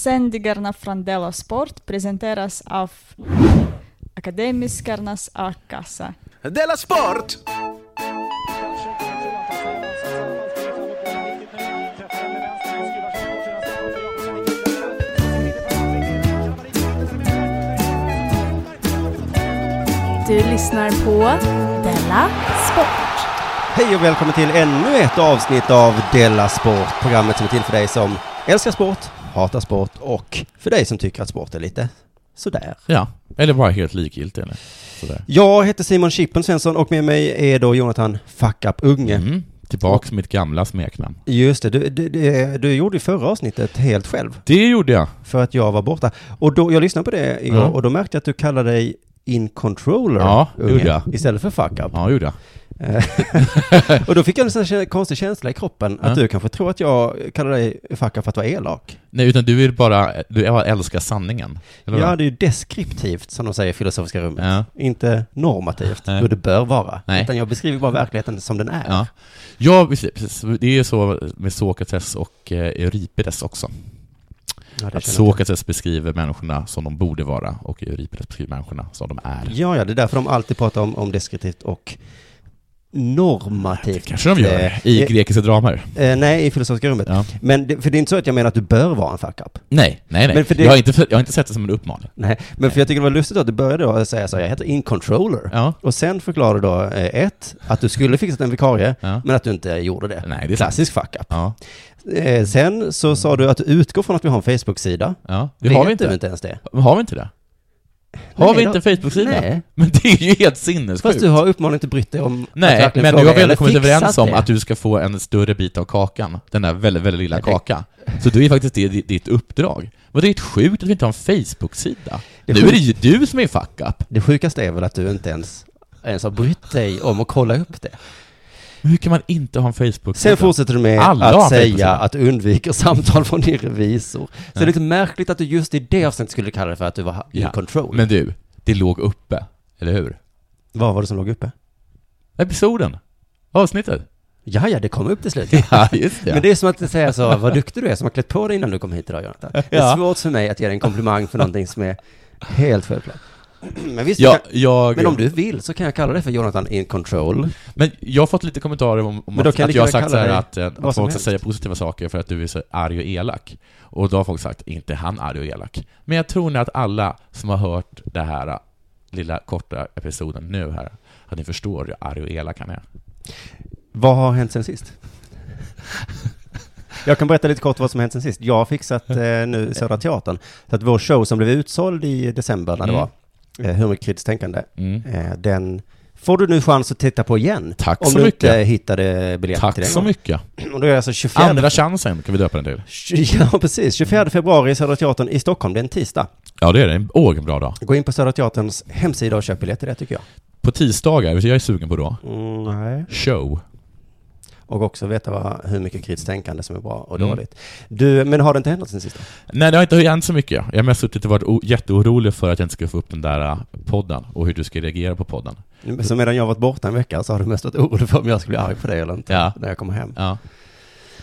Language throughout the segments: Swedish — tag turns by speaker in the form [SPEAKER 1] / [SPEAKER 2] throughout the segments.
[SPEAKER 1] Sändningarna från Della Sport presenteras av Akademiskernas A-kassa.
[SPEAKER 2] Della Sport!
[SPEAKER 3] Du lyssnar på Della Sport.
[SPEAKER 4] Hej och välkommen till ännu ett avsnitt av Della Sport, programmet som är till för dig som älskar sport, hatar sport och för dig som tycker att sport är lite sådär.
[SPEAKER 5] Ja, eller bara helt likgiltig eller sådär.
[SPEAKER 4] Jag heter Simon Chippen Svensson och med mig är då Jonathan Fuck Up Unge.
[SPEAKER 5] Mm. Tillbaks mitt gamla smeknamn.
[SPEAKER 4] Just det, du, du, du, du gjorde ju förra avsnittet helt själv
[SPEAKER 5] Det gjorde jag.
[SPEAKER 4] för att jag var borta. Och då, jag lyssnade på det igår
[SPEAKER 5] Mm.
[SPEAKER 4] och då märkte jag att du kallade dig In Controller
[SPEAKER 5] Ja,
[SPEAKER 4] Unge,
[SPEAKER 5] gjorde jag.
[SPEAKER 4] istället för Fuck Up.
[SPEAKER 5] Ja, gjorde jag.
[SPEAKER 4] och då fick jag en sån här konstig känsla i kroppen att
[SPEAKER 5] Ja.
[SPEAKER 4] du kanske tror att jag kallar dig Fuck Up för att vara elak.
[SPEAKER 5] Nej, utan du är bara, du bara älskar sanningen. Eller
[SPEAKER 4] Ja,
[SPEAKER 5] vad?
[SPEAKER 4] det är ju deskriptivt som de säger i filosofiska rummet.
[SPEAKER 5] Ja.
[SPEAKER 4] Inte normativt,
[SPEAKER 5] Nej.
[SPEAKER 4] hur det bör vara.
[SPEAKER 5] Nej.
[SPEAKER 4] Utan jag beskriver bara verkligheten som den är.
[SPEAKER 5] Ja. ja, precis. precis. Det är så med Sokrates och eh, Euripides också.
[SPEAKER 4] Ja, det
[SPEAKER 5] Att
[SPEAKER 4] känner jag till.
[SPEAKER 5] Sokrates beskriver människorna som de borde vara och Euripides beskriver människorna som de är.
[SPEAKER 4] ja, ja, det är därför de alltid pratar om, om deskriptivt och normativt.
[SPEAKER 5] Kanske de gör
[SPEAKER 4] Eh,
[SPEAKER 5] i
[SPEAKER 4] eh,
[SPEAKER 5] grekiska dramer.
[SPEAKER 4] eh, nej, i filosofiska rummet.
[SPEAKER 5] Ja.
[SPEAKER 4] Men det, för det är inte så att jag menar att du bör vara en fuck-up.
[SPEAKER 5] Nej, nej, nej.
[SPEAKER 4] Men för det-
[SPEAKER 5] jag, har inte, jag har inte sett det som en uppmaning.
[SPEAKER 4] Nej, men för jag tycker det var lustigt att du började då att säga så här, jag heter in controller.
[SPEAKER 5] Ja.
[SPEAKER 4] Och sen förklarade du då, eh, ett, att du skulle fixat en vikarie,
[SPEAKER 5] Ja.
[SPEAKER 4] men att du inte gjorde det.
[SPEAKER 5] Nej, det är sant.
[SPEAKER 4] Klassisk fuck-up.
[SPEAKER 5] Ja,
[SPEAKER 4] Eh, sen så sa du att du utgår från att vi har en Facebook-sida.
[SPEAKER 5] ja. Det har
[SPEAKER 4] Vet
[SPEAKER 5] vi
[SPEAKER 4] du
[SPEAKER 5] inte. Alltså,
[SPEAKER 4] inte ens det.
[SPEAKER 5] Har vi inte det? Har
[SPEAKER 4] Nej,
[SPEAKER 5] vi
[SPEAKER 4] då-
[SPEAKER 5] inte en Facebook-sida?
[SPEAKER 4] Nej.
[SPEAKER 5] Men det är ju helt sinnessjukt.
[SPEAKER 4] Fast du har uppenbarligen inte brytt dig om att
[SPEAKER 5] Nej,
[SPEAKER 4] verkligen
[SPEAKER 5] men nu
[SPEAKER 4] fråga
[SPEAKER 5] har vi
[SPEAKER 4] eller
[SPEAKER 5] ändå kommit
[SPEAKER 4] fixa
[SPEAKER 5] överens om
[SPEAKER 4] det.
[SPEAKER 5] att du ska få en större bit av kakan. Den där väldigt, väldigt lilla
[SPEAKER 4] Nej,
[SPEAKER 5] kakan. Så du är faktiskt det, ditt- ditt uppdrag. Vad det är helt sjukt att vi inte har en Facebook-sida.
[SPEAKER 4] Det är
[SPEAKER 5] nu är det ju du som är fuck up.
[SPEAKER 4] Det sjukaste är väl att du inte ens, ens har brytt dig om att kolla upp det.
[SPEAKER 5] Men Hur kan man inte ha en Facebook-sida?
[SPEAKER 4] Sen fortsätter du med
[SPEAKER 5] Alla har
[SPEAKER 4] att
[SPEAKER 5] en
[SPEAKER 4] säga
[SPEAKER 5] Facebook-sida.
[SPEAKER 4] att du undviker samtal från din revisor. Så det är lite märkligt att du just i det avsnittet skulle kalla det för att du var in
[SPEAKER 5] Ja,
[SPEAKER 4] control.
[SPEAKER 5] Men du, det låg uppe, eller hur?
[SPEAKER 4] Vad var det som låg uppe?
[SPEAKER 5] Episoden. Avsnittet.
[SPEAKER 4] Ja, ja, det kom upp till slut.
[SPEAKER 5] Ja, just det.
[SPEAKER 4] Men det är som att säga så, vad duktig du är som har klätt på dig innan du kom hit idag, Jonathan. Det är
[SPEAKER 5] Ja.
[SPEAKER 4] svårt för mig att ge dig en komplimang för någonting som är helt självklart. Men visst,
[SPEAKER 5] Ja,
[SPEAKER 4] jag kan,
[SPEAKER 5] jag...
[SPEAKER 4] men om du vill så kan jag kalla dig för Jonathan in control.
[SPEAKER 5] Men jag har fått lite kommentarer om, om
[SPEAKER 4] Men då
[SPEAKER 5] att,
[SPEAKER 4] kan jag
[SPEAKER 5] att
[SPEAKER 4] lika
[SPEAKER 5] jag har
[SPEAKER 4] väl
[SPEAKER 5] sagt så
[SPEAKER 4] kalla
[SPEAKER 5] här
[SPEAKER 4] dig
[SPEAKER 5] att, eh, att
[SPEAKER 4] vad som
[SPEAKER 5] folk ska
[SPEAKER 4] helst.
[SPEAKER 5] säga positiva saker för att du är så arg och elak. Och då har folk sagt, inte han arg och elak. Men jag tror nog att alla som har hört det här eh, lilla korta episoden nu här, att ni förstår hur arg och elak han är.
[SPEAKER 4] Vad har hänt sen sist? Jag kan berätta lite kort vad som hänt sen sist. Jag har fixat eh, nu Södra Teatern. Så att vår show som blev utsåld i december när det
[SPEAKER 5] Mm.
[SPEAKER 4] var, eh, Hur mycket kritiskt tänkande,
[SPEAKER 5] Mm.
[SPEAKER 4] eh, den får du nu chans att titta på igen.
[SPEAKER 5] Tack
[SPEAKER 4] om
[SPEAKER 5] så
[SPEAKER 4] du
[SPEAKER 5] mycket.
[SPEAKER 4] inte hittade biljetter till
[SPEAKER 5] Tack
[SPEAKER 4] den
[SPEAKER 5] så
[SPEAKER 4] gången.
[SPEAKER 5] mycket.
[SPEAKER 4] Och då är det alltså 24
[SPEAKER 5] Andra chansen kan vi döpa den till.
[SPEAKER 4] Ja, precis. 24 februari i Södra Teatern i Stockholm. Det är en tisdag.
[SPEAKER 5] Ja, det är det. Åh, vilken bra dag.
[SPEAKER 4] Gå in på Södra Teaterns hemsida och köp biljetter, det tycker jag.
[SPEAKER 5] På tisdagar, vet du, jag är sugen på då,
[SPEAKER 4] Mm, nej.
[SPEAKER 5] show.
[SPEAKER 4] Och också veta vad, hur mycket kritiskt tänkande som är bra och
[SPEAKER 5] Mm.
[SPEAKER 4] dåligt. Du, men har det inte hänt något sen sist? då?
[SPEAKER 5] Nej, det har inte hänt så mycket. Jag har mest suttit och varit o- jätteorolig för att jag inte ska få upp den där eh, podden och hur du ska reagera på podden.
[SPEAKER 4] Så medan jag har varit borta en vecka så har du mest varit orolig för om jag skulle bli arg på dig eller inte
[SPEAKER 5] Ja.
[SPEAKER 4] när jag kommer hem.
[SPEAKER 5] Ja.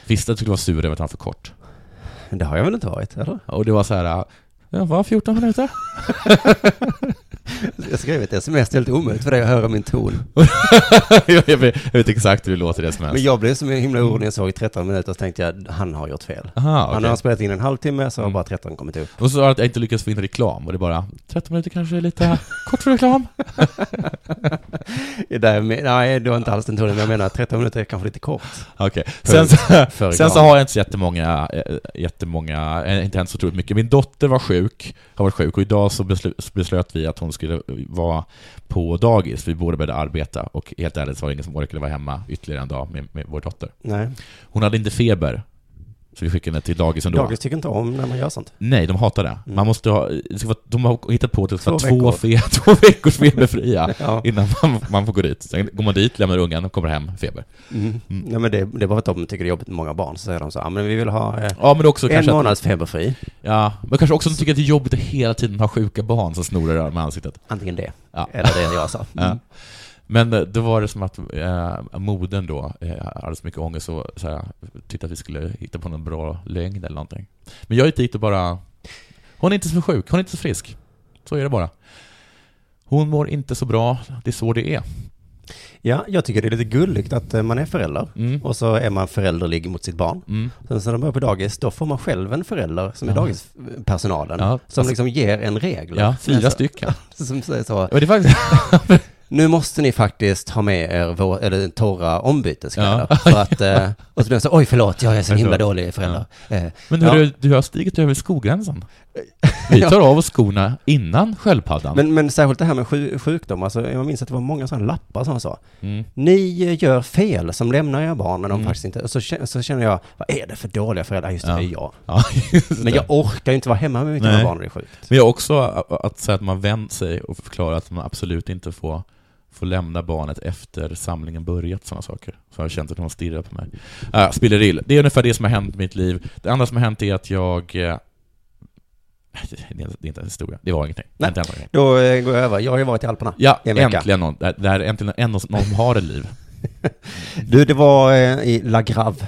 [SPEAKER 5] Visste att du skulle vara sur över att han var för kort.
[SPEAKER 4] Men det har jag väl inte varit, eller?
[SPEAKER 5] Och det var så här, jag var 14 minuter.
[SPEAKER 4] Jag skrev ett sms, det är helt omöjligt för dig att höra min ton.
[SPEAKER 5] jag, jag, vet, jag vet exakt hur det låter det som
[SPEAKER 4] Men
[SPEAKER 5] helst.
[SPEAKER 4] jag blev så himla orolig när jag såg 13 minuter så tänkte jag, han har gjort fel.
[SPEAKER 5] Aha,
[SPEAKER 4] Han
[SPEAKER 5] okej.
[SPEAKER 4] har spelat in en halvtimme så har
[SPEAKER 5] Mm.
[SPEAKER 4] bara 13 kommit upp.
[SPEAKER 5] Och så sa han att jag inte lyckats få in reklam och det bara 13 minuter kanske är lite kort för reklam.
[SPEAKER 4] Det där med, nej, det var inte alls den tonen, men jag menar 13 minuter är kanske lite kort.
[SPEAKER 5] Okej. Sen,
[SPEAKER 4] För
[SPEAKER 5] sen så
[SPEAKER 4] reklam.
[SPEAKER 5] har jag inte så jättemånga, eh, jättemånga, eh, inte hänt så otroligt mycket. Min dotter var sjuk, har varit sjuk och idag så beslu- så beslöt vi att hon skulle vara på dagis. Vi båda började arbeta och helt ärligt så var det ingen som orkade vara hemma ytterligare en dag med, med vår dotter.
[SPEAKER 4] Nej,
[SPEAKER 5] Hon hade inte feber, så vi skickade henne till dagis ändå.
[SPEAKER 4] dagis tycker inte om när man gör sånt.
[SPEAKER 5] Nej, de hatar det.
[SPEAKER 4] Mm.
[SPEAKER 5] Man måste ha, det ska vara, de har hittat på att det ska
[SPEAKER 4] Två
[SPEAKER 5] vara två, fe, två veckors feberfria
[SPEAKER 4] Ja.
[SPEAKER 5] innan man, man får gå dit. Sen går man dit, lämnar ungen och kommer hem, feber.
[SPEAKER 4] Mm. Nej men det, det är bara att de tycker det är jobbigt med många barn, så säger de så, ja men vi vill ha eh,
[SPEAKER 5] Ja, men också
[SPEAKER 4] en
[SPEAKER 5] kanske att,
[SPEAKER 4] månads feberfri,
[SPEAKER 5] ja, men kanske också att de tycker att det är jobbigt att hela tiden ha sjuka barn som snorar med ansiktet.
[SPEAKER 4] antingen det,
[SPEAKER 5] Ja.
[SPEAKER 4] eller det jag sa. Mm.
[SPEAKER 5] Ja. Men eh, då var det som att eh, modern då eh, hade så mycket ångest och så här, tyckte att vi skulle hitta på någon bra lögn eller någonting. Men jag gick dit och bara... Hon är inte så sjuk, hon är inte så frisk. Så är det bara. Hon mår inte så bra, det är så det är.
[SPEAKER 4] Ja, jag tycker det är lite gulligt att eh, man är förälder.
[SPEAKER 5] Mm.
[SPEAKER 4] Och så är man förälderlig mot sitt barn.
[SPEAKER 5] Mm.
[SPEAKER 4] Sen så när de börjar på dagis, då får man själv en förälder som är
[SPEAKER 5] Ja.
[SPEAKER 4] dagispersonalen.
[SPEAKER 5] Ja,
[SPEAKER 4] Som
[SPEAKER 5] fast-
[SPEAKER 4] liksom ger en regel.
[SPEAKER 5] Ja,
[SPEAKER 4] Som är
[SPEAKER 5] fyra
[SPEAKER 4] så-
[SPEAKER 5] stycken.
[SPEAKER 4] Som säger så,
[SPEAKER 5] Och det är faktiskt...
[SPEAKER 4] nu måste ni faktiskt ha med er vår, eller torra ombyteskläder.
[SPEAKER 5] Ja.
[SPEAKER 4] För att, eh, och så blir det så, oj förlåt, jag är så himla
[SPEAKER 5] Förlåt.
[SPEAKER 4] dålig förälder. Eh,
[SPEAKER 5] Men
[SPEAKER 4] Ja.
[SPEAKER 5] hörru, du har stigit över skogränsen. Vi tar av oss skorna innan sköldpaddan.
[SPEAKER 4] men, men särskilt det här med sju- sjukdom, alltså, jag minns att det var många sådana lappar som sa,
[SPEAKER 5] Mm.
[SPEAKER 4] ni eh, gör fel som lämnar era barn när de
[SPEAKER 5] Mm.
[SPEAKER 4] faktiskt inte, och så, kä- så känner jag, vad är det för dåliga föräldrar? Ja, Just det,
[SPEAKER 5] Ja.
[SPEAKER 4] det är jag.
[SPEAKER 5] Ja, just
[SPEAKER 4] Men
[SPEAKER 5] det.
[SPEAKER 4] jag orkar ju inte vara hemma med mina
[SPEAKER 5] Nej.
[SPEAKER 4] barn när det är sjukt.
[SPEAKER 5] Men jag också att, att säga att man vänt sig och förklarar att man absolut inte får, får lämna barnet efter samlingen börjat, sådana saker. Så har jag känt att någon stirrar på mig. Äh, spiller ill. Det är ungefär det som har hänt i mitt liv. Det andra som har hänt är att jag... eh, Det är det är inte en historia. Det var ingenting.
[SPEAKER 4] Nej.
[SPEAKER 5] Inte en gång.
[SPEAKER 4] Då eh, går jag över, jag har ju varit i Alperna.
[SPEAKER 5] Ja,
[SPEAKER 4] En vecka.
[SPEAKER 5] äntligen någon. Det här- Det här är äntligen en- någon som har ett liv.
[SPEAKER 4] Du, det var eh, i La Grave.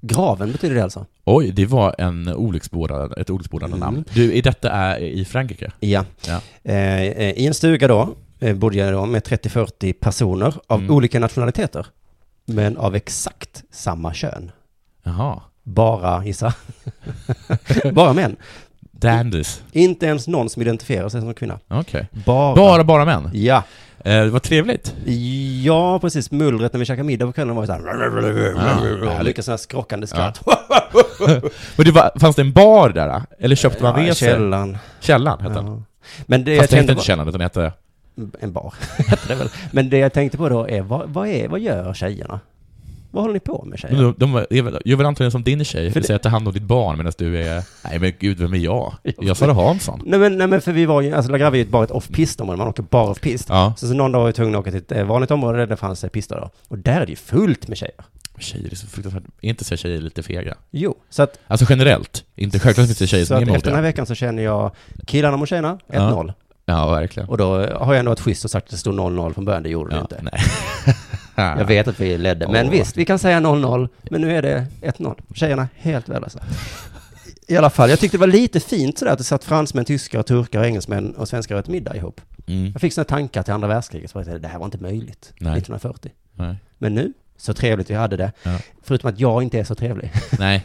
[SPEAKER 4] Graven betyder det alltså?
[SPEAKER 5] Oj, det var en olycksbådande, ett olycksbådande
[SPEAKER 4] Mm.
[SPEAKER 5] namn. Du, i detta är i Frankrike?
[SPEAKER 4] Ja.
[SPEAKER 5] Ja.
[SPEAKER 4] Eh, eh, I en stuga då eh, bodde jag då med 30-40 personer av
[SPEAKER 5] Mm.
[SPEAKER 4] olika nationaliteter. Men av exakt samma kön.
[SPEAKER 5] Jaha.
[SPEAKER 4] Bara, gissa. bara män.
[SPEAKER 5] Dandys.
[SPEAKER 4] Inte ens någon som identifierar sig som kvinna.
[SPEAKER 5] Okej.
[SPEAKER 4] Bara.
[SPEAKER 5] Bara, bara män?
[SPEAKER 4] Mm. Ja.
[SPEAKER 5] Eh, vad trevligt.
[SPEAKER 4] Ja, precis. Mullret när vi käkade middag på kvällen var ju så
[SPEAKER 5] Ah,
[SPEAKER 4] här...
[SPEAKER 5] härligt.
[SPEAKER 4] mycket sådana här skrockande skratt.
[SPEAKER 5] Men det var, fanns det en bar där? då? Eller köpte man
[SPEAKER 4] Ja,
[SPEAKER 5] resor?
[SPEAKER 4] källan.
[SPEAKER 5] Källan hette den.
[SPEAKER 4] Ja. Men det jag
[SPEAKER 5] Fast det hette
[SPEAKER 4] kände
[SPEAKER 5] inte Källan, utan det hette...
[SPEAKER 4] En bar. Hette det väl. Men det jag tänkte på då är vad, vad är, vad gör tjejerna? Vad håller ni på med
[SPEAKER 5] Men
[SPEAKER 4] tjejer?
[SPEAKER 5] de, de är väl, gör väl antagligen som din tjej,
[SPEAKER 4] För
[SPEAKER 5] för
[SPEAKER 4] det-
[SPEAKER 5] säger att ta hand om ditt barn medan du är... Nej men gud, vem är jag? Jag är Sara Hansson.
[SPEAKER 4] Nej men, nej men för vi var ju, alltså La Grave är ju bara ett off-pist område, man åker bara off-pist.
[SPEAKER 5] Ja.
[SPEAKER 4] Så, så någon dag var vi tvungna att åka till ett eh, vanligt område där det fanns eh, pister då. Och där är det ju fullt med tjejer.
[SPEAKER 5] Tjejer är så fruktansvärt... Är inte så tjejer lite fega?
[SPEAKER 4] Jo, så att...
[SPEAKER 5] Alltså generellt. Inte självklart finns det tjejer
[SPEAKER 4] så
[SPEAKER 5] som är
[SPEAKER 4] att
[SPEAKER 5] emot
[SPEAKER 4] efter den här
[SPEAKER 5] det.
[SPEAKER 4] veckan så känner jag killarna mot tjejerna, 1-0.
[SPEAKER 5] Ja, verkligen.
[SPEAKER 4] Och då eh, har jag ändå varit schysst och sagt att det stod 0-0 från början, det gjorde det
[SPEAKER 5] Ja,
[SPEAKER 4] inte.
[SPEAKER 5] nej.
[SPEAKER 4] Jag vet att vi ledde, men
[SPEAKER 5] Åh.
[SPEAKER 4] visst, vi kan säga 0-0, men nu är det 1-0. Tjejerna helt värdelösa. I alla fall, jag tyckte det var lite fint sådär att det satt fransmän, tyskar, turkar, engelsmän och svenskar åt middag ihop.
[SPEAKER 5] Mm,
[SPEAKER 4] Jag fick sådana tankar till andra världskriget, så jag tänkte, det här var inte möjligt
[SPEAKER 5] Nej.
[SPEAKER 4] 1940.
[SPEAKER 5] nej.
[SPEAKER 4] Men nu, så trevligt vi hade det.
[SPEAKER 5] Ja.
[SPEAKER 4] Förutom att jag inte är så trevlig.
[SPEAKER 5] nej.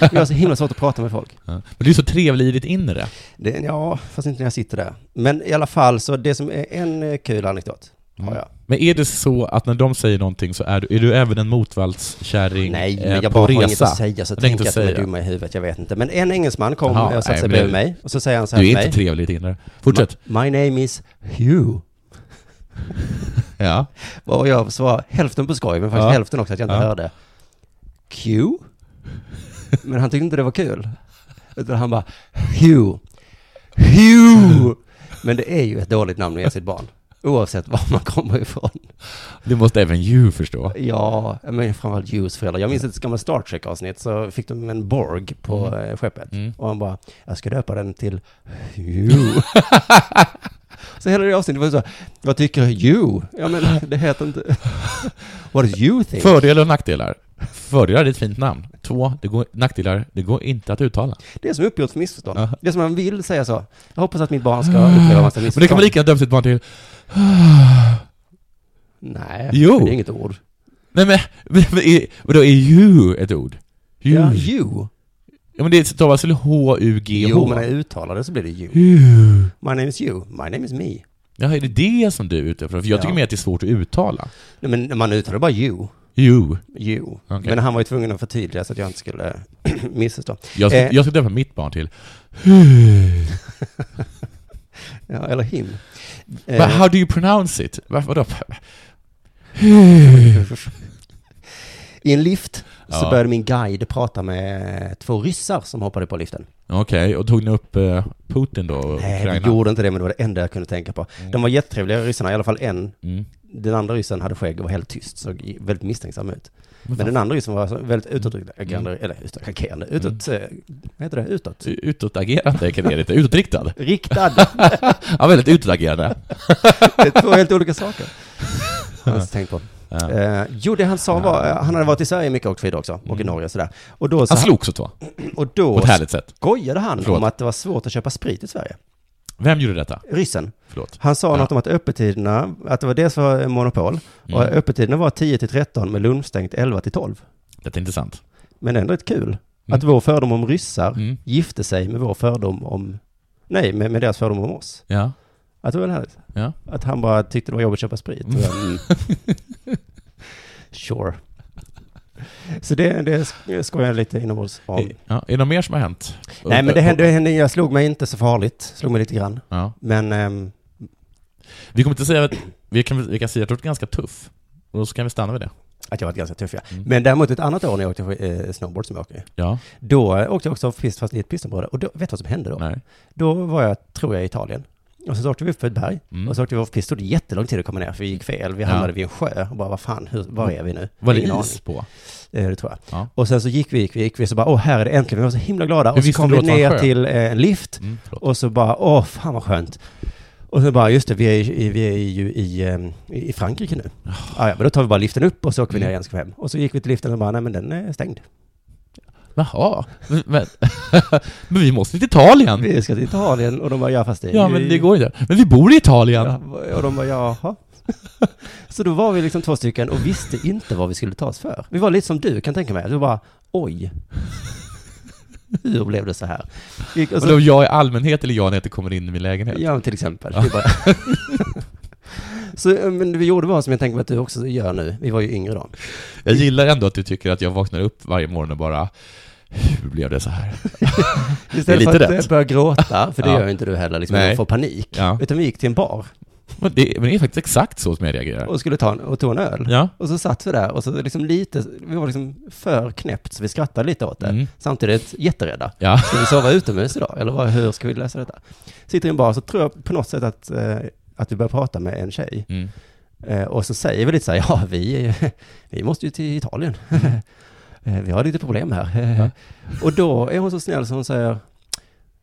[SPEAKER 4] Jag har så himla svårt att prata med folk.
[SPEAKER 5] Ja. Men du är så trevlig i ditt inre.
[SPEAKER 4] Det, ja, fast inte när jag sitter där. Men i alla fall, så det som är en eh, kul anekdot har jag.
[SPEAKER 5] Men är det så att när de säger någonting så är du, är du även en motvallskärring
[SPEAKER 4] Nej,
[SPEAKER 5] eh,
[SPEAKER 4] men jag
[SPEAKER 5] på
[SPEAKER 4] bara har inget
[SPEAKER 5] resa?
[SPEAKER 4] att säga så
[SPEAKER 5] Jag
[SPEAKER 4] tänk
[SPEAKER 5] tänkte
[SPEAKER 4] att de är
[SPEAKER 5] säga.
[SPEAKER 4] dumma i huvudet, jag vet inte. Men en engelsman kom
[SPEAKER 5] Jaha,
[SPEAKER 4] och satte
[SPEAKER 5] nej,
[SPEAKER 4] sig
[SPEAKER 5] men
[SPEAKER 4] bredvid
[SPEAKER 5] det-
[SPEAKER 4] mig och så säger han så här
[SPEAKER 5] Du
[SPEAKER 4] till
[SPEAKER 5] är inte
[SPEAKER 4] mig.
[SPEAKER 5] trevlig i ditt inre. Fortsätt.
[SPEAKER 4] My name is Hugh.
[SPEAKER 5] Ja.
[SPEAKER 4] Och jag svarade hälften på skoj, men faktiskt
[SPEAKER 5] Ja.
[SPEAKER 4] hälften också att jag inte
[SPEAKER 5] Ja.
[SPEAKER 4] hörde. Q? Men han tyckte inte det var kul. Utan han bara Hugh. Hugh! Men det är ju ett dåligt namn att ge sitt barn. Oavsett var man kommer ifrån.
[SPEAKER 5] Det måste även you förstå.
[SPEAKER 4] Ja, men framförallt Hughes föräldrar. Jag minns ett gammalt Star Trek-avsnitt så fick de en Borg på eh, skeppet.
[SPEAKER 5] Mm.
[SPEAKER 4] Och han bara, jag ska döpa den till Hugh. så hela det avsnittet var så, här, vad tycker Hugh? Ja men det heter inte... What does you think?
[SPEAKER 5] Fördelar och nackdelar. Fördelar är ett fint namn. Två, det går, nackdelar, det går inte att uttala.
[SPEAKER 4] Det är som uppgjort för missförstånd.
[SPEAKER 5] Ja. Ah.
[SPEAKER 4] Det är som man vill säga så. Jag hoppas att mitt barn ska uppleva massa missförstånd.
[SPEAKER 5] Men det kan man lika gärna döpa sitt barn till...
[SPEAKER 4] Nej,
[SPEAKER 5] Jo.
[SPEAKER 4] det är inget ord.
[SPEAKER 5] Nej men, men, men är, vadå, är you ett ord? You?
[SPEAKER 4] Ja,
[SPEAKER 5] Ja,
[SPEAKER 4] you.
[SPEAKER 5] men det stavas väl H-U-G-H?
[SPEAKER 4] Jo, men när jag uttalar det så blir det you.
[SPEAKER 5] You.
[SPEAKER 4] My name is you. My name is me.
[SPEAKER 5] Ja, är det det som du är ute efter? För jag tycker
[SPEAKER 4] Ja.
[SPEAKER 5] mer att det är svårt att uttala.
[SPEAKER 4] Nej, men när man uttalar bara you.
[SPEAKER 5] You.
[SPEAKER 4] Jo,
[SPEAKER 5] Okej.
[SPEAKER 4] men han var ju tvungen att förtydliga så att jag inte skulle missförstå.
[SPEAKER 5] Jag ska,
[SPEAKER 4] Eh.
[SPEAKER 5] jag ska döpa mitt barn till
[SPEAKER 4] Ja, eller him. Eh.
[SPEAKER 5] But how do you pronounce it? Va- Vadå?
[SPEAKER 4] I en lift så
[SPEAKER 5] Ja.
[SPEAKER 4] började min guide prata med två ryssar som hoppade på liften.
[SPEAKER 5] Okej, och tog ni upp eh, Putin då? och
[SPEAKER 4] Nej, vi
[SPEAKER 5] Ukraina?
[SPEAKER 4] gjorde inte det, men det var det enda jag kunde tänka på. De var jättetrevliga ryssarna, i alla fall en.
[SPEAKER 5] Mm.
[SPEAKER 4] Den andra ryssen hade skägg och var helt tyst, såg väldigt misstänksam ut.
[SPEAKER 5] Men
[SPEAKER 4] Men den andra ryssen var så väldigt
[SPEAKER 5] Mm.
[SPEAKER 4] utåtagerande, eller utåtagerande, utåt, eh, vad heter det, utåt?
[SPEAKER 5] Utåtagerande kan det är lite, utåtriktad.
[SPEAKER 4] Riktad!
[SPEAKER 5] Ja, väldigt utåtagerande.
[SPEAKER 4] Det är två helt olika saker. Jag
[SPEAKER 5] Alltså,
[SPEAKER 4] har inte tänkt på.
[SPEAKER 5] Ja.
[SPEAKER 4] Eh, jo, det han sa var, eh, han hade varit i Sverige mycket och åkt skidor också, och i
[SPEAKER 5] Mm.
[SPEAKER 4] Norge och sådär. Och då, så
[SPEAKER 5] Han slogs åt va?
[SPEAKER 4] och
[SPEAKER 5] På
[SPEAKER 4] då
[SPEAKER 5] ett härligt sätt.
[SPEAKER 4] skojade han
[SPEAKER 5] Förlåt.
[SPEAKER 4] om att det var svårt att köpa sprit i Sverige.
[SPEAKER 5] Vem gjorde detta?
[SPEAKER 4] Ryssen.
[SPEAKER 5] Förlåt.
[SPEAKER 4] Han sa
[SPEAKER 5] Ja.
[SPEAKER 4] något om att öppettiderna, att det var dels var monopol, och
[SPEAKER 5] Mm.
[SPEAKER 4] öppettiderna var 10 till 13 med lunchstängt 11 till 12.
[SPEAKER 5] Detta är intressant.
[SPEAKER 4] Men ändå rätt kul.
[SPEAKER 5] Mm.
[SPEAKER 4] Att vår fördom om ryssar
[SPEAKER 5] Mm.
[SPEAKER 4] gifte sig med vår fördom om, nej, med, med deras fördom om oss.
[SPEAKER 5] Ja.
[SPEAKER 4] Att det var väl härligt.
[SPEAKER 5] Ja.
[SPEAKER 4] Att han bara tyckte det var jobbigt att köpa sprit.
[SPEAKER 5] Mm.
[SPEAKER 4] Mm. sure. Så det, det sk- skojar jag lite inombords om.
[SPEAKER 5] ja. Är det något mer som har hänt?
[SPEAKER 4] Nej, men det hände, det hände, jag slog mig inte så farligt. Slog mig lite grann.
[SPEAKER 5] Ja.
[SPEAKER 4] Men, ehm,
[SPEAKER 5] Vi kommer inte säga att, vi kan, vi kan säga att du har varit ganska tuff. Och så kan vi stanna vid det.
[SPEAKER 4] att jag var ganska tuff ja.
[SPEAKER 5] Mm.
[SPEAKER 4] Men däremot ett annat år när jag åkte eh, snowboard som jag åker
[SPEAKER 5] Ja,
[SPEAKER 4] Då eh, åkte jag också pist fast i ett pistområde. Och då, vet du vad som hände då?
[SPEAKER 5] nej.
[SPEAKER 4] Då var jag, tror jag, i Italien. Och så åkte vi upp för ett berg.
[SPEAKER 5] Mm.
[SPEAKER 4] Och så åkte vi off-pist. Det tog jättelång tid att komma ner för vi gick fel. Vi
[SPEAKER 5] Ja. Mm.
[SPEAKER 4] hamnade vid en sjö och bara, vad fan, hur, var är vi nu?
[SPEAKER 5] Var det
[SPEAKER 4] Ingen
[SPEAKER 5] is på?
[SPEAKER 4] aning. Eh, Det tror jag.
[SPEAKER 5] Ja.
[SPEAKER 4] Och sen så gick vi, gick vi, gick vi. Så bara, åh, här är det äntligen. Vi var så himla glada.
[SPEAKER 5] Hur
[SPEAKER 4] Och så
[SPEAKER 5] visste
[SPEAKER 4] kom
[SPEAKER 5] du
[SPEAKER 4] vi
[SPEAKER 5] att det var
[SPEAKER 4] ner
[SPEAKER 5] en sjö?
[SPEAKER 4] till eh, en lift.
[SPEAKER 5] Mm, förlåt.
[SPEAKER 4] Och så bara, åh, fan vad skönt. Och så bara, just det, vi är, ju- i- vi är ju i, ehm, i i Frankrike nu. Ah, ja, men då tar vi bara liften upp och så åker vi ner
[SPEAKER 5] Oh. Mm.
[SPEAKER 4] igen, ska vi hem. Och så gick vi till liften och bara, nej men den är stängd.
[SPEAKER 5] Jaha, men, men, men vi måste till Italien!
[SPEAKER 4] Vi ska till Italien och de bara, ja fast det är
[SPEAKER 5] Ja,
[SPEAKER 4] ju
[SPEAKER 5] men
[SPEAKER 4] i-
[SPEAKER 5] det går inte. Men vi bor i Italien!
[SPEAKER 4] Ja, och de bara, jaha. Så då var vi liksom två stycken och visste inte vad vi skulle ta oss för. Vi var lite som du, kan tänka mig. Du bara, oj. Hur blev det så här? Vi Gick, och
[SPEAKER 5] Vadå,
[SPEAKER 4] så,
[SPEAKER 5] jag i allmänhet eller jag när jag inte kommer in i min lägenhet?
[SPEAKER 4] ja, till exempel. Vi bara, så eh, men det vi gjorde var som jag tänker mig att du också gör nu. Vi var ju yngre då.
[SPEAKER 5] Jag gillar ändå att du tycker att jag vaknar upp varje morgon och bara Hur blev det så här?
[SPEAKER 4] Istället
[SPEAKER 5] lite
[SPEAKER 4] för att
[SPEAKER 5] rätt.
[SPEAKER 4] eh, börja gråta, för det
[SPEAKER 5] Ja.
[SPEAKER 4] gör ju inte du heller, liksom,
[SPEAKER 5] Nej.
[SPEAKER 4] och få panik.
[SPEAKER 5] Ja.
[SPEAKER 4] Utan vi gick till en bar
[SPEAKER 5] Men det, men det är faktiskt exakt så som jag reagerar.
[SPEAKER 4] och skulle ta en, och tog en öl.
[SPEAKER 5] Ja.
[SPEAKER 4] Och så satt vi där och så liksom lite, vi var liksom för knäppt så vi skrattade lite åt det.
[SPEAKER 5] Mm.
[SPEAKER 4] Samtidigt jätterädda.
[SPEAKER 5] Ja.
[SPEAKER 4] Ska vi sova utomhus idag? Eller vad, hur ska vi lösa detta? Sitter i en bar så tror jag på något sätt att, eh, att vi börjar prata med en tjej.
[SPEAKER 5] Mm.
[SPEAKER 4] Eh, och så säger vi lite så här, ja vi, är- vi måste ju till Italien. Eh, vi har lite problem här.
[SPEAKER 5] Ja.
[SPEAKER 4] Och då är hon så snäll så hon säger,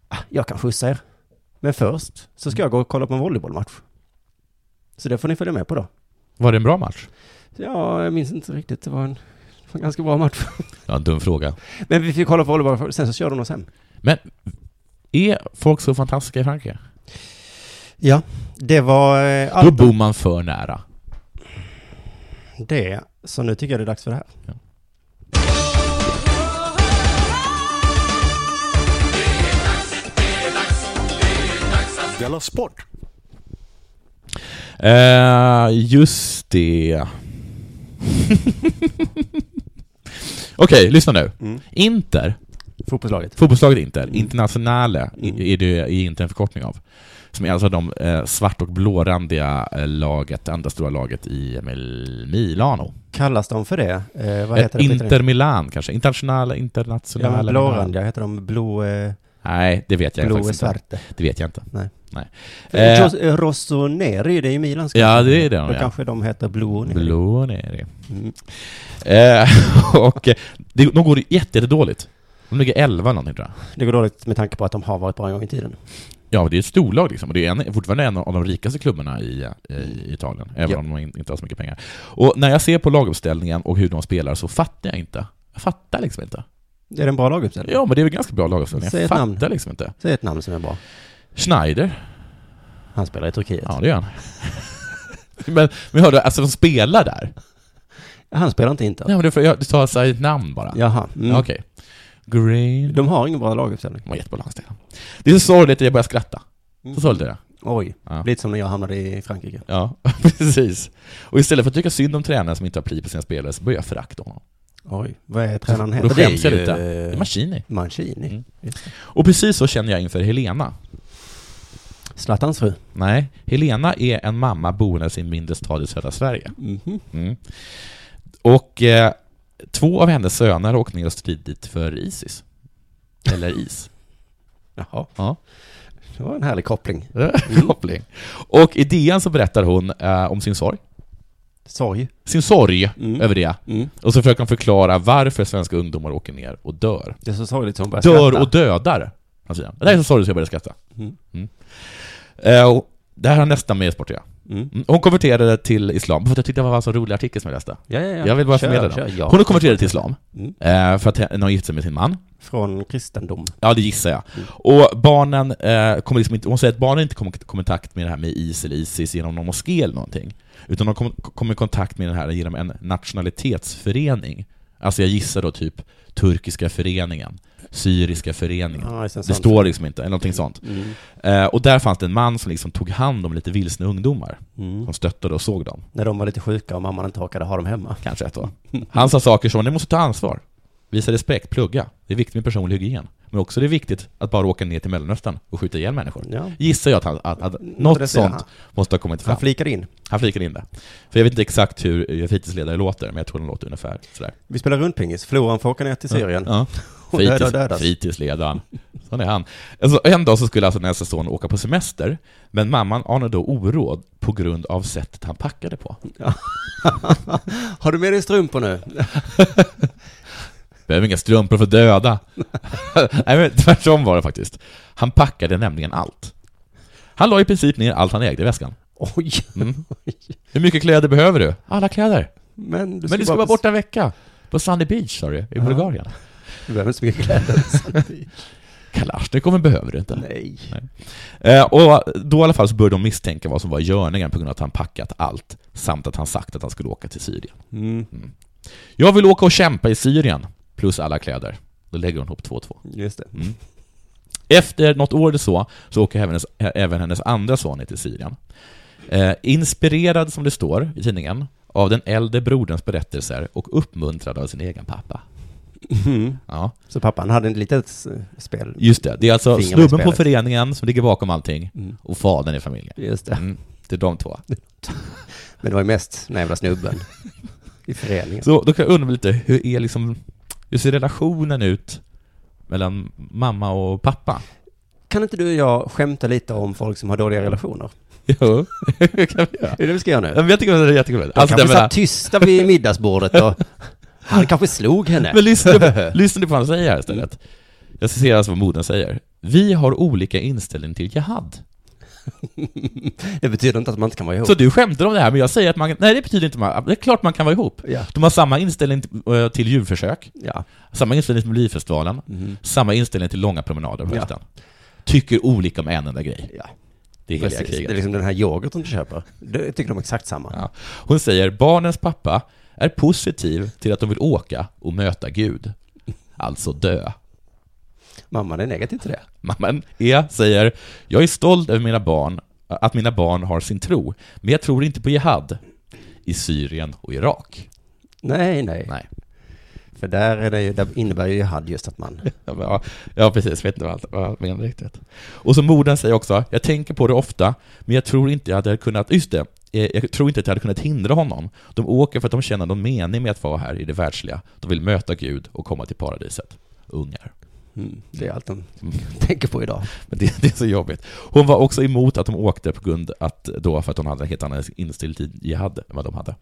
[SPEAKER 4] ah, jag kan skjutsa er. Men först så ska jag gå och kolla på en volleybollmatch. Så det får ni följa med på då.
[SPEAKER 5] Var det en bra match?
[SPEAKER 4] Ja, jag minns inte riktigt. Det var en, det var en ganska bra match.
[SPEAKER 5] Ja, en dum fråga.
[SPEAKER 4] Men vi fick kolla på volleyboll, sen så körde de oss hem.
[SPEAKER 5] Är folk så fantastiska i Frankrike?
[SPEAKER 4] Ja, det var eh,
[SPEAKER 5] Då
[SPEAKER 4] allt
[SPEAKER 5] bor man för nära.
[SPEAKER 4] om det. Så nu tycker jag det är dags för det här.
[SPEAKER 2] Della Sport!
[SPEAKER 5] Eh, just det. Okej, lyssna nu.
[SPEAKER 4] Mm.
[SPEAKER 5] Inter,
[SPEAKER 4] Fotbollslaget.
[SPEAKER 5] fotbollslaget Inter, Internationale
[SPEAKER 4] Mm.
[SPEAKER 5] i- är det är inte en förkortning av. Som är alltså de eh, svart och blårandiga eh, laget, andra stora laget i Mil- Milano.
[SPEAKER 4] Kallas de för det? Eh, vad
[SPEAKER 5] Eh,
[SPEAKER 4] heter det?
[SPEAKER 5] Inter Milan kanske? Internationale,
[SPEAKER 4] Ja,
[SPEAKER 5] Internationale.
[SPEAKER 4] men blårandiga, heter de blå, eh,
[SPEAKER 5] Nej, det vet jag
[SPEAKER 4] blå och
[SPEAKER 5] faktiskt inte.
[SPEAKER 4] svarte?
[SPEAKER 5] Det vet jag inte.
[SPEAKER 4] Nej.
[SPEAKER 5] Nej.
[SPEAKER 4] Eh.
[SPEAKER 5] Eh,
[SPEAKER 4] Rossoneri, det är ju Milans
[SPEAKER 5] ja, det är det.
[SPEAKER 4] Då
[SPEAKER 5] de, ja.
[SPEAKER 4] kanske de heter blå och neri.
[SPEAKER 5] Blå nere.
[SPEAKER 4] Mm.
[SPEAKER 5] Eh, och eh, det, de går jätte- jättedåligt. De ligger 11 någonting tror jag.
[SPEAKER 4] Det går dåligt med tanke på att de har varit bra en gång i tiden.
[SPEAKER 5] Ja, men det är ett storlag liksom. Och det är en, fortfarande en av de rikaste klubbarna i, eh, i Italien, även
[SPEAKER 4] Mm. Ja.
[SPEAKER 5] om de in- inte har så mycket pengar. Och när jag ser på laguppställningen och hur de spelar så fattar jag inte. Jag fattar liksom inte.
[SPEAKER 4] Är det en bra laguppställning?
[SPEAKER 5] Ja, men det är väl ganska bra laguppställning.
[SPEAKER 4] Säg
[SPEAKER 5] Jag
[SPEAKER 4] ett
[SPEAKER 5] fattar
[SPEAKER 4] namn.
[SPEAKER 5] liksom inte.
[SPEAKER 4] Säg ett namn som är bra.
[SPEAKER 5] Schneider,
[SPEAKER 4] Han spelar i Turkiet.
[SPEAKER 5] ja det gör han. men, men hörde, alltså de spelar där?
[SPEAKER 4] Han spelar inte Inter.
[SPEAKER 5] Nej, men det är för, jag, du sa alltså ett namn bara?
[SPEAKER 4] Jaha. Mm.
[SPEAKER 5] Okej. Green...
[SPEAKER 4] De har ingen bra laguppställning.
[SPEAKER 5] De har jättebra landsdel. Det är så sorgligt att jag börjar skratta. Så sorgligt är det.
[SPEAKER 4] Mm. Oj,
[SPEAKER 5] Ja.
[SPEAKER 4] lite som när jag hamnade i Frankrike.
[SPEAKER 5] Ja, precis. Och istället för att tycka synd om tränaren som inte har pli på sina spelare så börjar jag förakta honom.
[SPEAKER 4] Oj, vad är tränaren heter?
[SPEAKER 5] Då skäms jag
[SPEAKER 4] Det är ju,
[SPEAKER 5] lite.
[SPEAKER 4] eh,
[SPEAKER 5] Det är Mancini.
[SPEAKER 4] Mancini.
[SPEAKER 5] Mm.
[SPEAKER 4] Just det.
[SPEAKER 5] Och precis så känner jag inför Helena.
[SPEAKER 4] Zlatans fru.
[SPEAKER 5] Nej, Helena är en mamma boende i en mindre stad i södra Sverige.
[SPEAKER 4] Mhm.
[SPEAKER 5] Mm. Och eh, två av hennes söner har åkt ner och stridit för Isis. Eller is.
[SPEAKER 4] Jaha. Eh.
[SPEAKER 5] Ja.
[SPEAKER 4] Det var en härlig koppling.
[SPEAKER 5] Koppling. Och i DN så berättar hon eh, om sin sorg.
[SPEAKER 4] Sorg.
[SPEAKER 5] Sin sorg
[SPEAKER 4] Mm.
[SPEAKER 5] över det.
[SPEAKER 4] Mm.
[SPEAKER 5] Och så försöker han förklara varför svenska ungdomar åker ner och dör.
[SPEAKER 4] Det är så sorgligt som hon börjar
[SPEAKER 5] Dör
[SPEAKER 4] skratta.
[SPEAKER 5] och dödar, alltså. han säger. Det här är så sorgligt så jag började skratta.
[SPEAKER 4] Mm.
[SPEAKER 5] Mm. Eh, och det här har nästan med sport att göra.
[SPEAKER 4] Mm.
[SPEAKER 5] Mm. Hon konverterade till islam, för att jag tyckte det var en så rolig artikel som jag läste.
[SPEAKER 4] Ja, ja, ja.
[SPEAKER 5] Jag vill bara
[SPEAKER 4] Kör,
[SPEAKER 5] förmedla
[SPEAKER 4] kör,
[SPEAKER 5] den.
[SPEAKER 4] ja.
[SPEAKER 5] Hon konverterade till islam,
[SPEAKER 4] Mm.
[SPEAKER 5] eh, för att hen- hon gifte sig med sin man.
[SPEAKER 4] Från kristendom.
[SPEAKER 5] Ja, det gissar jag.
[SPEAKER 4] Mm.
[SPEAKER 5] Och barnen eh, kommer liksom inte, hon säger att barnen inte kommer kom i kontakt med det här med IS eller ISIS genom någon moské eller någonting. Utan de kommer kom i kontakt med det här genom en nationalitetsförening. Alltså jag gissar då typ Turkiska föreningen, Syriska föreningen.
[SPEAKER 4] Ja, just en
[SPEAKER 5] det
[SPEAKER 4] sån
[SPEAKER 5] står liksom inte, eller någonting sånt.
[SPEAKER 4] Mm.
[SPEAKER 5] Eh, och där fanns det en man som liksom tog hand om lite vilsna ungdomar.
[SPEAKER 4] Mm.
[SPEAKER 5] Som stöttade och såg dem.
[SPEAKER 4] När de var lite sjuka och mamman inte orkade ha dem hemma.
[SPEAKER 5] Kanske ett år. Han sa saker som, ni måste ta ansvar. Visa respekt, plugga. Det är viktigt med personlig hygien. Men också det är viktigt att bara åka ner till Mellanöstern och skjuta ihjäl människor.
[SPEAKER 4] Ja.
[SPEAKER 5] Gissar jag att, han, att, att
[SPEAKER 4] Mm, det
[SPEAKER 5] något
[SPEAKER 4] säger han.
[SPEAKER 5] sånt måste ha kommit fram.
[SPEAKER 4] Han flikade in.
[SPEAKER 5] Han flikade in det. För jag vet inte exakt hur eh, fritidsledare låter, men jag tror den låter ungefär sådär.
[SPEAKER 4] Vi spelar rundpingis. Floran får åka ner till Syrien.
[SPEAKER 5] Ja.
[SPEAKER 4] Och döda och
[SPEAKER 5] Fritids,
[SPEAKER 4] dödas.
[SPEAKER 5] fritidsledaren. Sån är han. Alltså, en dag så skulle alltså den äldsta sonen åka på semester, men mamman anade då oråd på grund av sättet han packade på.
[SPEAKER 4] Har du med dig strumpor nu?
[SPEAKER 5] Behöver inga strumpor för döda. Nej men tvärtom var det faktiskt. Han packade nämligen allt. Han la i princip ner allt han ägde i väskan.
[SPEAKER 4] Oj!
[SPEAKER 5] Mm. Hur mycket kläder behöver du? Alla kläder.
[SPEAKER 4] Men du
[SPEAKER 5] men du ska vara borta en vecka. På Sunny Beach sa du, i Bulgarien.
[SPEAKER 4] Du behöver inte så mycket kläder.
[SPEAKER 5] Kalashnikov behöver du inte.
[SPEAKER 4] Nej.
[SPEAKER 5] Eh, och då i alla fall så började de misstänka vad som var i görningen på grund av att han packat allt, samt att han sagt att han skulle åka till Syrien.
[SPEAKER 4] Mm.
[SPEAKER 5] Jag vill åka och kämpa i Syrien, plus alla kläder. Då lägger hon ihop två och två.
[SPEAKER 4] Just det.
[SPEAKER 5] Mm. Efter något år eller så, så åker även hennes, ä- även hennes andra son ner till Syrien. Eh, inspirerad, som det står i tidningen, av den äldre broderns berättelser och uppmuntrad av sin egen pappa. Ja,
[SPEAKER 4] Mm. Så pappan hade ett litet s- spel.
[SPEAKER 5] just det. Det är alltså
[SPEAKER 4] Finger med
[SPEAKER 5] snubben på
[SPEAKER 4] spelet.
[SPEAKER 5] föreningen som ligger bakom allting
[SPEAKER 4] Mm.
[SPEAKER 5] och fadern i familjen.
[SPEAKER 4] Just det.
[SPEAKER 5] Mm, det är de två.
[SPEAKER 4] Men det var ju mest den här jävla snubben. I föreningen.
[SPEAKER 5] Så då kan jag undra lite, hur är liksom, hur ser relationen ut mellan mamma och pappa?
[SPEAKER 4] Kan inte du och jag skämta lite om folk som har dåliga relationer?
[SPEAKER 5] Jo, det kan vi göra.
[SPEAKER 4] Är det det vi ska göra nu?
[SPEAKER 5] Men Jag tycker det är jättekul.
[SPEAKER 4] De
[SPEAKER 5] Alltså,
[SPEAKER 4] kanske
[SPEAKER 5] jag menar-
[SPEAKER 4] satt tysta vid middagsbordet och han kanske slog henne.
[SPEAKER 5] Men lyssna på, lyssna på vad han säger här istället. Jag citerar alltså vad modern säger. Vi har olika inställning till jihad.
[SPEAKER 4] Det betyder inte att man inte kan vara ihop.
[SPEAKER 5] Så du skämtar om det här, men jag säger att man... Nej, det betyder inte man... Det är klart man kan vara ihop.
[SPEAKER 4] Ja.
[SPEAKER 5] De har samma inställning till, eh, till djurförsök,
[SPEAKER 4] Ja.
[SPEAKER 5] samma inställning till Melodifestivalen,
[SPEAKER 4] Mm.
[SPEAKER 5] samma inställning till långa promenader på
[SPEAKER 4] Ja.
[SPEAKER 5] hösten. Tycker olika om en enda grej.
[SPEAKER 4] ja.
[SPEAKER 5] Det är heliga
[SPEAKER 4] Precis.
[SPEAKER 5] kriget.
[SPEAKER 4] Det är liksom den här yoghurten du köper. Det tycker de är exakt samma.
[SPEAKER 5] Ja. Hon säger barnens pappa är positiv till att de vill åka och möta Gud. Alltså dö.
[SPEAKER 4] Mamman är negativ till det.
[SPEAKER 5] Mamman E säger Jag är stolt över mina barn, att mina barn har sin tro, men jag tror inte på jihad i Syrien och Irak.
[SPEAKER 4] Nej, nej.
[SPEAKER 5] Nej.
[SPEAKER 4] För där, är det ju, där innebär ju jihad just att man...
[SPEAKER 5] Ja, men, ja, ja precis, vet inte vad vad jag menar riktigt. Och så modern säger också, jag tänker på det ofta, men jag tror inte jag hade kunnat, just det, eh, jag tror inte att jag hade kunnat hindra honom. De åker för att de känner någon mening med att vara här i det världsliga. De vill möta Gud och komma till paradiset. Ungar.
[SPEAKER 4] Mm, det är allt de tänker på idag.
[SPEAKER 5] Men det, det är så jobbigt. Hon var också emot att de åkte på grund att, då för att hon hade en helt annan inställning till jihad än vad de hade.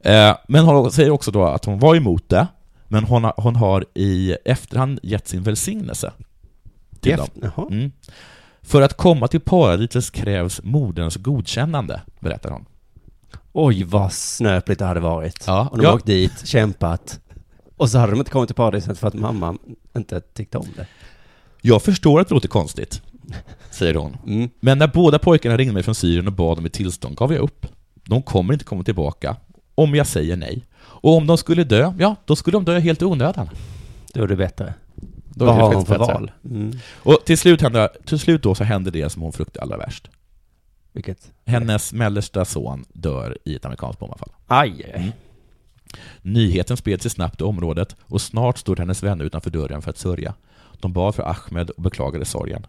[SPEAKER 5] Eh, men hon säger också då att hon var emot det, men hon har, hon har i efterhand gett sin välsignelse till dem.
[SPEAKER 4] Jaha.
[SPEAKER 5] Mm. För att komma till paradiset krävs moderns godkännande, berättar hon.
[SPEAKER 4] Oj, vad snöpligt det hade varit.
[SPEAKER 5] Ja,
[SPEAKER 4] Om de
[SPEAKER 5] ja.
[SPEAKER 4] åkt dit, kämpat. Och så hade de inte kommit till paradiset för att mamma inte tyckte om det.
[SPEAKER 5] Jag förstår att det låter konstigt, säger hon.
[SPEAKER 4] Mm.
[SPEAKER 5] Men när båda pojkarna ringde mig från Syrien och bad om ett tillstånd gav jag upp. De kommer inte komma tillbaka om jag säger nej. Och om de skulle dö, ja, då skulle de dö helt i onödan.
[SPEAKER 4] Då är det bättre.
[SPEAKER 5] Då
[SPEAKER 4] vad
[SPEAKER 5] är det
[SPEAKER 4] har hon
[SPEAKER 5] faktiskt
[SPEAKER 4] för
[SPEAKER 5] bättre.
[SPEAKER 4] val? Mm.
[SPEAKER 5] Och till slut, händer, till slut då så händer det som hon fruktade allra värst.
[SPEAKER 4] Vilket?
[SPEAKER 5] Hennes mellersta son dör i ett amerikanskt bombanfall.
[SPEAKER 4] Aj, aj.
[SPEAKER 5] Nyheten spred sig snabbt i området och snart stod hennes vänner utanför dörren för att sörja. De bad för Ahmed och beklagade sorgen.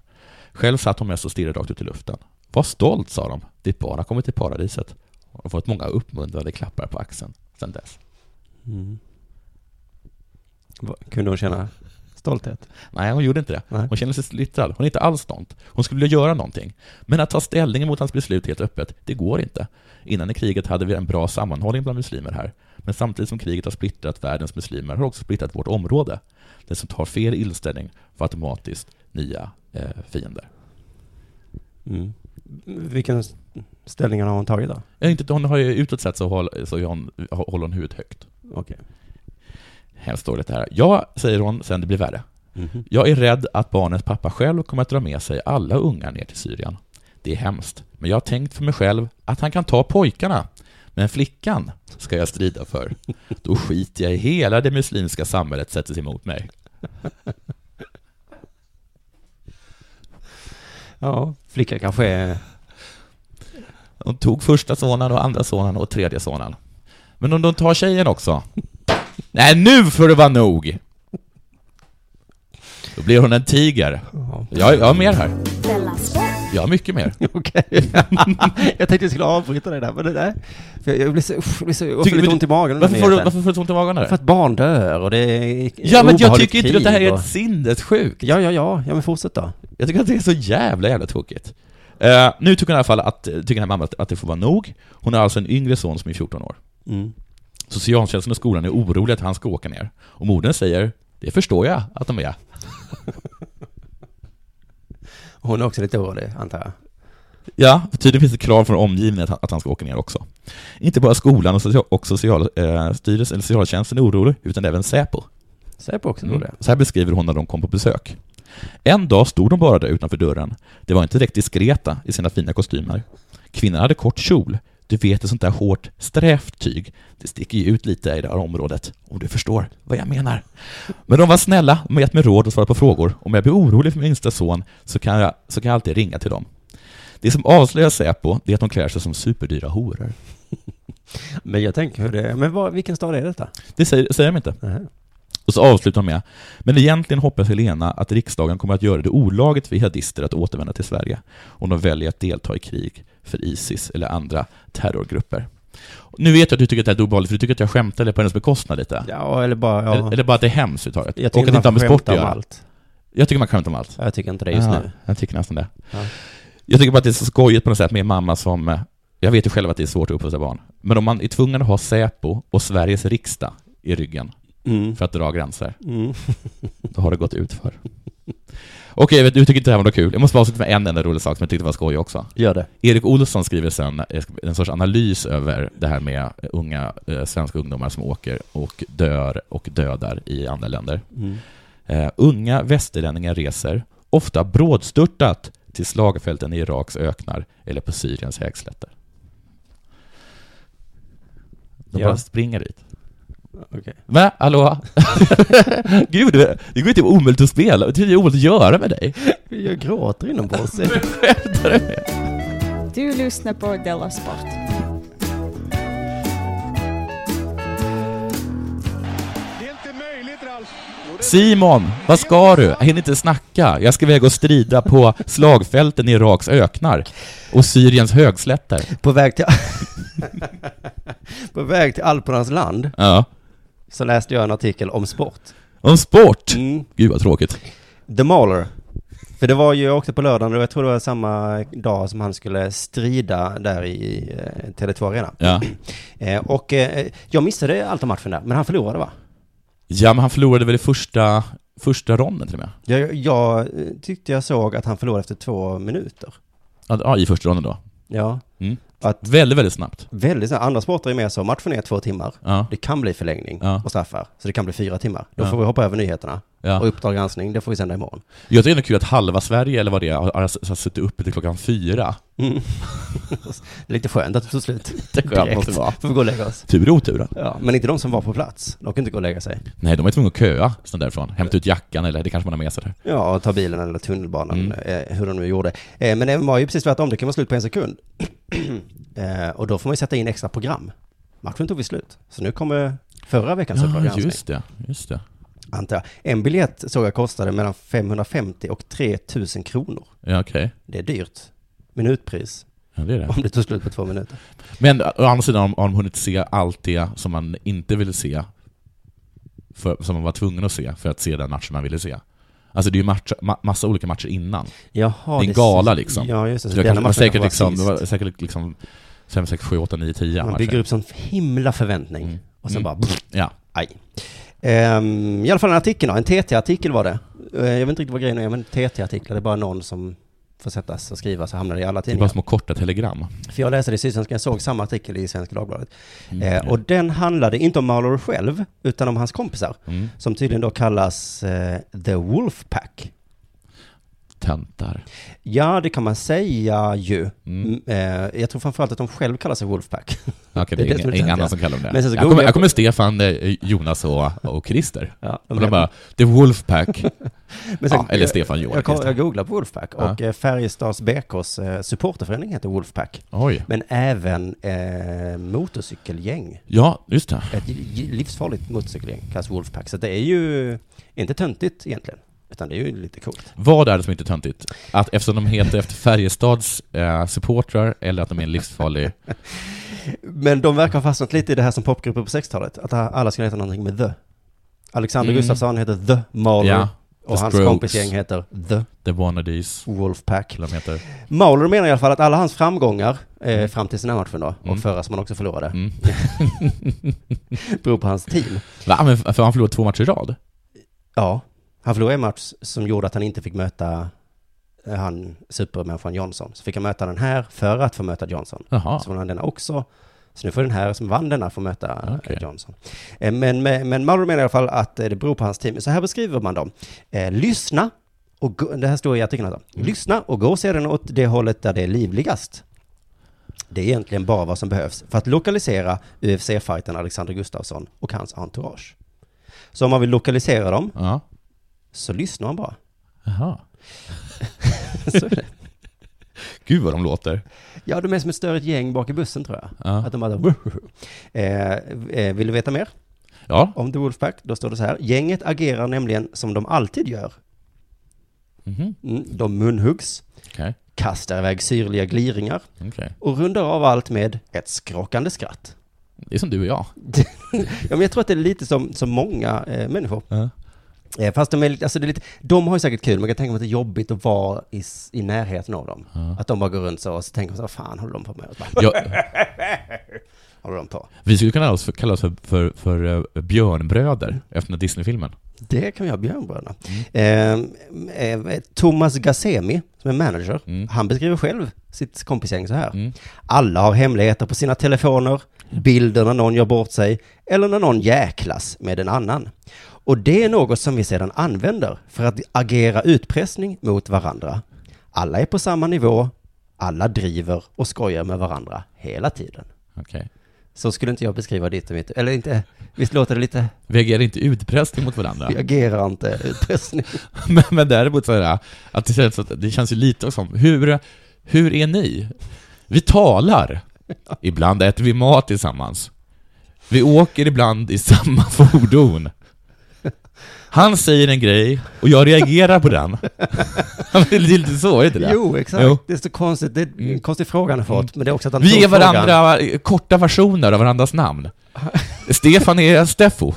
[SPEAKER 5] Själv satt hon mest och stirrade rakt ut i luften. Var stolt, sa de. Ditt barn har kommit till paradiset och fått många uppmuntrande klappar på axeln sedan dess.
[SPEAKER 4] Mm. Va- Kunde hon känna stolthet?
[SPEAKER 5] Nej, hon gjorde inte det.
[SPEAKER 4] Nej.
[SPEAKER 5] Hon kände sig splittrad. Hon är inte alls stolt. Hon skulle vilja göra någonting. Men att ta ställning mot hans beslut helt öppet, det går inte. Innan i kriget hade vi en bra sammanhållning bland muslimer här. Men samtidigt som kriget har splittrat världens muslimer har också splittrat vårt område. Den som tar fel inställning får automatiskt nya eh, fiender.
[SPEAKER 4] Mm. Vilken ställning har hon tagit då?
[SPEAKER 5] Jag inte, hon har ju utåt sett så, håll, så hon, håller hon huvudet högt.
[SPEAKER 4] Okej.
[SPEAKER 5] Hemskt dåligt det här. Ja, säger hon sen det blir värre.
[SPEAKER 4] Mhm.
[SPEAKER 5] Jag är rädd att barnens pappa själv kommer att dra med sig alla ungar ner till Syrien. Det är hemskt, men jag har tänkt för mig själv att han kan ta pojkarna. Men flickan ska jag strida för. Då skiter jag i hela det muslimska samhället sätter sig emot mig.
[SPEAKER 4] Ja, flicka kanske är...
[SPEAKER 5] De tog första sonen och andra sonen och tredje sonen. Men om de tar tjejen också? Nej, nu får det vara nog! Då blir hon en tiger.
[SPEAKER 4] Ja.
[SPEAKER 5] Jag, jag har mer här.
[SPEAKER 3] Della Sport.
[SPEAKER 5] Jag har mycket mer.
[SPEAKER 4] Okej. jag tänkte jag skulle avbryta dig där, men det där... För jag, jag blir så... Usch, jag blir så jag får
[SPEAKER 5] Tycker
[SPEAKER 4] lite
[SPEAKER 5] du-
[SPEAKER 4] ont i magen. av den
[SPEAKER 5] Varför får du,
[SPEAKER 4] nyheten.
[SPEAKER 5] varför får du så ont i magen
[SPEAKER 4] För
[SPEAKER 5] där?
[SPEAKER 4] att barn dör och det är
[SPEAKER 5] Ja, men jag
[SPEAKER 4] obehagligt
[SPEAKER 5] tycker inte att det här
[SPEAKER 4] krig
[SPEAKER 5] är
[SPEAKER 4] och-
[SPEAKER 5] ett sinnessjukt.
[SPEAKER 4] Ja, ja, ja. Ja, men fortsätt då.
[SPEAKER 5] Jag tycker att det är så jävla, jävla tråkigt. Eh, nu tycker hon i alla fall att, tycker den här mamman att, att det får vara nog. Hon har alltså en yngre son som är 14 år.
[SPEAKER 4] Mm.
[SPEAKER 5] Socialtjänsten och skolan är oroliga att han ska åka ner. Och modern säger, det förstår jag att de är.
[SPEAKER 4] Hon är också lite orolig, antar jag.
[SPEAKER 5] Ja, för tydligen finns det krav från omgivningen att han, att han ska åka ner också. Inte bara skolan och, social, och social, eh, styrelsen, eller socialtjänsten är orolig, utan även Säpo.
[SPEAKER 4] Säg på också
[SPEAKER 5] Mm.
[SPEAKER 4] det.
[SPEAKER 5] Så här beskriver hon när de kom på besök. En dag stod de bara där utanför dörren. Det var inte direkt diskreta i sina fina kostymer. Kvinnan hade kort kjol. Du vet ett sånt där hårt, strävt tyg. Det sticker ju ut lite i det här området, om du förstår vad jag menar. Men de var snälla, de har gett mig råd och svarat på frågor. Om jag blir orolig för min yngsta son så kan, jag, så kan jag alltid ringa till dem. Det som avslöjar Säpo, det är att de klär sig som superdyra horor.
[SPEAKER 4] Men jag tänker hur det är. Men vad, vilken stad är detta?
[SPEAKER 5] Det säger, säger de inte.
[SPEAKER 4] Nähä.
[SPEAKER 5] Och så avslutar de med Men egentligen hoppas Helena att riksdagen kommer att göra det olagligt för jihadister att återvända till Sverige om de väljer att delta i krig för Isis eller andra terrorgrupper. Nu vet jag att du tycker att det här är obehagligt, för du tycker att jag skämtade på hennes bekostnad lite.
[SPEAKER 4] Ja, eller bara... Ja.
[SPEAKER 5] Eller, eller bara att det är hemskt överhuvudtaget.
[SPEAKER 4] jag
[SPEAKER 5] Och att
[SPEAKER 4] tycker
[SPEAKER 5] det inte har
[SPEAKER 4] man
[SPEAKER 5] med
[SPEAKER 4] får
[SPEAKER 5] sport
[SPEAKER 4] skämta
[SPEAKER 5] att
[SPEAKER 4] om
[SPEAKER 5] göra.
[SPEAKER 4] allt.
[SPEAKER 5] Jag tycker man skämtar om allt.
[SPEAKER 4] Ja, Jag tycker inte det just
[SPEAKER 5] Ja,
[SPEAKER 4] nu.
[SPEAKER 5] Jag tycker nästan det.
[SPEAKER 4] Ja.
[SPEAKER 5] Jag tycker bara att det är så skojigt på något sätt med en mamma som... eh, Jag vet ju själv att det är svårt att uppfostra barn. Men om man är tvungen att ha Säpo och Sveriges riksdag i ryggen
[SPEAKER 4] Mm.
[SPEAKER 5] för att dra gränser,
[SPEAKER 4] Mm.
[SPEAKER 5] då har det gått ut för. Okej, vet du tycker inte det här var något kul. Jag måste bara avsluta med en enda rolig sak som jag tyckte var skoj också.
[SPEAKER 4] Gör det.
[SPEAKER 5] Erik Olsson skriver sen eh, en sorts analys över det här med unga eh, svenska ungdomar som åker och dör och dödar i andra länder.
[SPEAKER 4] Mm.
[SPEAKER 5] Eh, unga västerlänningar reser, ofta brådstörtat, till slagfälten i Iraks öknar eller på Syriens högslätter. De
[SPEAKER 4] Ja.
[SPEAKER 5] bara springer dit.
[SPEAKER 4] Okej.
[SPEAKER 5] Va? Hallå? Gud, det det går ju typ omöjligt att spela. Det är ju omöjligt att göra med dig.
[SPEAKER 4] Jag gråter inombords.
[SPEAKER 1] Du lyssnar på Della Sport.
[SPEAKER 5] Simon, vad ska du? Jag hinner inte snacka. Jag ska iväg och strida på slagfälten i Iraks öknar och Syriens högslätter.
[SPEAKER 4] På väg till... På väg till Alpernas land
[SPEAKER 5] Ja.
[SPEAKER 4] så läste jag en artikel om sport.
[SPEAKER 5] Om sport!
[SPEAKER 4] Mm.
[SPEAKER 5] Gud vad tråkigt.
[SPEAKER 4] The Mauler. För det var ju också på lördagen och jag tror det var samma dag som han skulle strida där i eh, Tele2 Arena.
[SPEAKER 5] Ja.
[SPEAKER 4] Eh, och eh, jag missade allt om matchen där, men han förlorade va?
[SPEAKER 5] Ja, men han förlorade väl i första, första ronden till och med?
[SPEAKER 4] Jag, jag eh, tyckte jag såg att han förlorade efter två minuter.
[SPEAKER 5] Ja, Ja, i första ronden då.
[SPEAKER 4] Ja,
[SPEAKER 5] Mm.
[SPEAKER 4] Att-
[SPEAKER 5] Väldigt, väldigt snabbt.
[SPEAKER 4] väldigt snabbt. Andra sporter är med så, matchen är två timmar.
[SPEAKER 5] Ja,
[SPEAKER 4] Det kan bli förlängning
[SPEAKER 5] Ja.
[SPEAKER 4] och straffar, så det kan bli fyra timmar. Då
[SPEAKER 5] Ja.
[SPEAKER 4] får vi hoppa över nyheterna. Och
[SPEAKER 5] ja.
[SPEAKER 4] Uppdrag granskning, det får vi sända imorgon.
[SPEAKER 5] Jag tycker det är kul att halva Sverige, eller vad det är, har, har suttit uppe till klockan fyra.
[SPEAKER 4] Mm. det är lite skönt att det tog slut.
[SPEAKER 5] Det är skönt måste
[SPEAKER 4] Direkt.
[SPEAKER 5] det vara.
[SPEAKER 4] Får vi gå och lägga oss.
[SPEAKER 5] Tur i oturen.
[SPEAKER 4] Ja, men inte de som var på plats. De kan inte gå och lägga sig.
[SPEAKER 5] Nej, de är tvungna att köa sen därifrån. Hämta ut jackan, eller det kanske man har med sig där.
[SPEAKER 4] Ja, och ta bilen eller tunnelbanan,
[SPEAKER 5] Mm.
[SPEAKER 4] eh, hur de nu gjorde. Eh, men det var ju precis tvärtom, det kan vara slut på en sekund. eh, och då får man ju sätta in extra program. Matchen tog vi slut. Så nu kommer förra veckans Uppdrag
[SPEAKER 5] Ja,
[SPEAKER 4] granskning,
[SPEAKER 5] Ah, just det. Just det.
[SPEAKER 4] antar jag. En biljett såg jag kostade mellan 550 och 3000 kronor.
[SPEAKER 5] Ja, okej.
[SPEAKER 4] Det är dyrt. Minutpris,
[SPEAKER 5] Ja, det är det.
[SPEAKER 4] om det tog slut på två minuter.
[SPEAKER 5] Men å andra sidan har de- har de hunnit se allt det som man inte ville se, för, som man var tvungen att se för att se den matchen man ville se. Alltså det är ju match, ma- massa olika matcher innan.
[SPEAKER 4] Jaha,
[SPEAKER 5] Det är en gala, liksom.
[SPEAKER 4] Ja, just det.
[SPEAKER 5] Så
[SPEAKER 4] Så
[SPEAKER 5] det
[SPEAKER 4] Alltså, denna
[SPEAKER 5] kanske,
[SPEAKER 4] matchen
[SPEAKER 5] säkert
[SPEAKER 4] var
[SPEAKER 5] liksom, det
[SPEAKER 4] sist.
[SPEAKER 5] var säkert liksom 5, 6, 7, 8, 9, 10
[SPEAKER 4] Man
[SPEAKER 5] matcher.
[SPEAKER 4] bygger upp sån himla förväntning.
[SPEAKER 5] Mm.
[SPEAKER 4] Och sen
[SPEAKER 5] Mm.
[SPEAKER 4] bara...
[SPEAKER 5] Ja.
[SPEAKER 4] Aj. Ehm, I alla fall en artikel, då, en TT-artikel var det. Eh, jag vet inte riktigt vad grejen är, men TT-artiklar, det är bara någon som får sättas och skrivas och hamnar i alla
[SPEAKER 5] Det är
[SPEAKER 4] tidningar.
[SPEAKER 5] bara små korta telegram.
[SPEAKER 4] För jag läste det i Sydsvenskan, jag såg samma artikel i Svenska Dagbladet.
[SPEAKER 5] Mm.
[SPEAKER 4] Eh, och den handlade inte om Mallory själv, utan om hans kompisar.
[SPEAKER 5] Mm.
[SPEAKER 4] Som tydligen då kallas eh, The Wolfpack.
[SPEAKER 5] Töntar.
[SPEAKER 4] Ja, det kan man säga ju.
[SPEAKER 5] Mm.
[SPEAKER 4] Mm, Eh, jag tror framförallt att de själv kallar sig Wolfpack.
[SPEAKER 5] Okej,
[SPEAKER 4] Det är
[SPEAKER 5] det
[SPEAKER 4] det
[SPEAKER 5] är
[SPEAKER 4] som är
[SPEAKER 5] ingen, ingen
[SPEAKER 4] töntiga.
[SPEAKER 5] annan som kallar dem det.
[SPEAKER 4] Men sen så
[SPEAKER 5] jag,
[SPEAKER 4] googlar
[SPEAKER 5] kommer,
[SPEAKER 4] jag
[SPEAKER 5] jag
[SPEAKER 4] på-
[SPEAKER 5] kommer Stefan, eh, Jonas och, och Christer.
[SPEAKER 4] Ja,
[SPEAKER 5] Och de
[SPEAKER 4] heter-
[SPEAKER 5] bara, The Wolfpack.
[SPEAKER 4] Men sen-
[SPEAKER 5] ja, eller Stefan
[SPEAKER 4] jag,
[SPEAKER 5] Johan
[SPEAKER 4] jag, kom-
[SPEAKER 5] Christer.
[SPEAKER 4] jag googlade på Wolfpack och eh, Färjestads BKs eh, supporterförening heter Wolfpack.
[SPEAKER 5] Oj.
[SPEAKER 4] Men även eh, motorcykelgäng.
[SPEAKER 5] Ja, just det.
[SPEAKER 4] Ett j- livsfarligt motorcykelgäng kallas Wolfpack. Så det är ju inte töntigt egentligen. Utan det är ju lite coolt.
[SPEAKER 5] Vad är det som inte är töntigt? Att eftersom de heter efter Färjestads eh, supportrar, eller att de är en livsfarlig...
[SPEAKER 4] Men de verkar ha fastnat lite i det här som popgrupper på 60-talet. Att alla skulle heta någonting med The. Alexander
[SPEAKER 5] Mm.
[SPEAKER 4] Gustafsson heter The Mahler.
[SPEAKER 5] ja,
[SPEAKER 4] och hans
[SPEAKER 5] Strokes.
[SPEAKER 4] kompisgäng heter The
[SPEAKER 5] The Wannadies,
[SPEAKER 4] Wolfpack.
[SPEAKER 5] eller vad de heter.
[SPEAKER 4] Mahler menar i alla fall att alla hans framgångar eh, fram till den här matchen då,
[SPEAKER 5] Mm.
[SPEAKER 4] och förra som han också förlorade,
[SPEAKER 5] Mm.
[SPEAKER 4] beror på hans team.
[SPEAKER 5] Va, men för han förlorade två matcher i rad?
[SPEAKER 4] Ja, han förlorade en match som gjorde att han inte fick möta eh, han supermänniskan Johnson. Så fick han möta den här för att få möta Johnson.
[SPEAKER 5] Jaha.
[SPEAKER 4] Så vann han denna också. Så nu får den här som vann denna få möta eh,
[SPEAKER 5] Okej.
[SPEAKER 4] Johnson. Eh, Men, men, men Mauro menar i alla fall att eh, det beror på hans team. Så här beskriver man dem. Eh, Lyssna och gå, det här står i artikeln alltså. Lyssna och gå sedan åt det hållet där det är livligast. Det är egentligen bara vad som behövs för att lokalisera UFC-fightern Alexander Gustafsson och hans entourage. Så om man vill lokalisera dem
[SPEAKER 5] Ja.
[SPEAKER 4] så lyssnar man bara.
[SPEAKER 5] Jaha.
[SPEAKER 4] Så är det.
[SPEAKER 5] Gud vad de låter.
[SPEAKER 4] Ja, de är som ett större gäng bak i bussen tror jag.
[SPEAKER 5] Ja.
[SPEAKER 4] Att de bara... Eh, eh, vill du veta mer?
[SPEAKER 5] ja.
[SPEAKER 4] om The Wolfpack, då står det så här. Gänget agerar nämligen som de alltid gör.
[SPEAKER 5] Mhm.
[SPEAKER 4] Mm, De munhuggs,
[SPEAKER 5] Okej.
[SPEAKER 4] kastar iväg syrliga gliringar
[SPEAKER 5] Okej.
[SPEAKER 4] och rundar av allt med ett skrockande skratt.
[SPEAKER 5] Det är som du och jag.
[SPEAKER 4] Ja, men jag tror att det är lite som, som många eh, människor.
[SPEAKER 5] Ja.
[SPEAKER 4] Eh, fast de är, lite- alltså det är lite, de har ju säkert kul, man kan tänka mig att det är jobbigt att vara i, s- i närheten av dem.
[SPEAKER 5] Ja.
[SPEAKER 4] Att de bara går runt så och så tänker man så vad fan håller de på med? Och så bara,
[SPEAKER 5] Jag,
[SPEAKER 4] håller de på?
[SPEAKER 5] vi skulle kunna kalla oss för, kalla oss för, för, för eh, björnbröder efter den här Disney-filmen.
[SPEAKER 4] Det kan vi ha björnbröderna. Eh, eh, Thomas Gassemi, som är manager,
[SPEAKER 5] Mm.
[SPEAKER 4] han beskriver själv sitt kompisgäng så här.
[SPEAKER 5] Mm.
[SPEAKER 4] Alla har hemligheter på sina telefoner, bilder när någon gör bort sig eller när någon jäklas med en annan. Och det är något som vi sedan använder för att agera utpressning mot varandra. Alla är på samma nivå, alla driver och skojar med varandra hela tiden.
[SPEAKER 5] Okej.
[SPEAKER 4] Så skulle inte jag beskriva ditt och mitt, eller inte, visst låter det lite,
[SPEAKER 5] Vi agerar inte utpressning mot varandra.
[SPEAKER 4] vi agerar inte utpressning.
[SPEAKER 5] Men, men däremot så är det, att det, känns, att det känns ju lite som, hur, hur är ni? Vi talar. Ibland äter vi mat tillsammans. Vi åker ibland i samma fordon. Han säger en grej och jag reagerar på den. Det är lite så, är inte det?
[SPEAKER 4] Jo, exakt.
[SPEAKER 5] Jo.
[SPEAKER 4] Det är så konstigt, det är en
[SPEAKER 5] Mm.
[SPEAKER 4] konstig fråga han har fått, men det är också att han
[SPEAKER 5] Vi
[SPEAKER 4] tog
[SPEAKER 5] är
[SPEAKER 4] frågan.
[SPEAKER 5] varandra eh, korta versioner av varandras namn. Stefan är Steffo.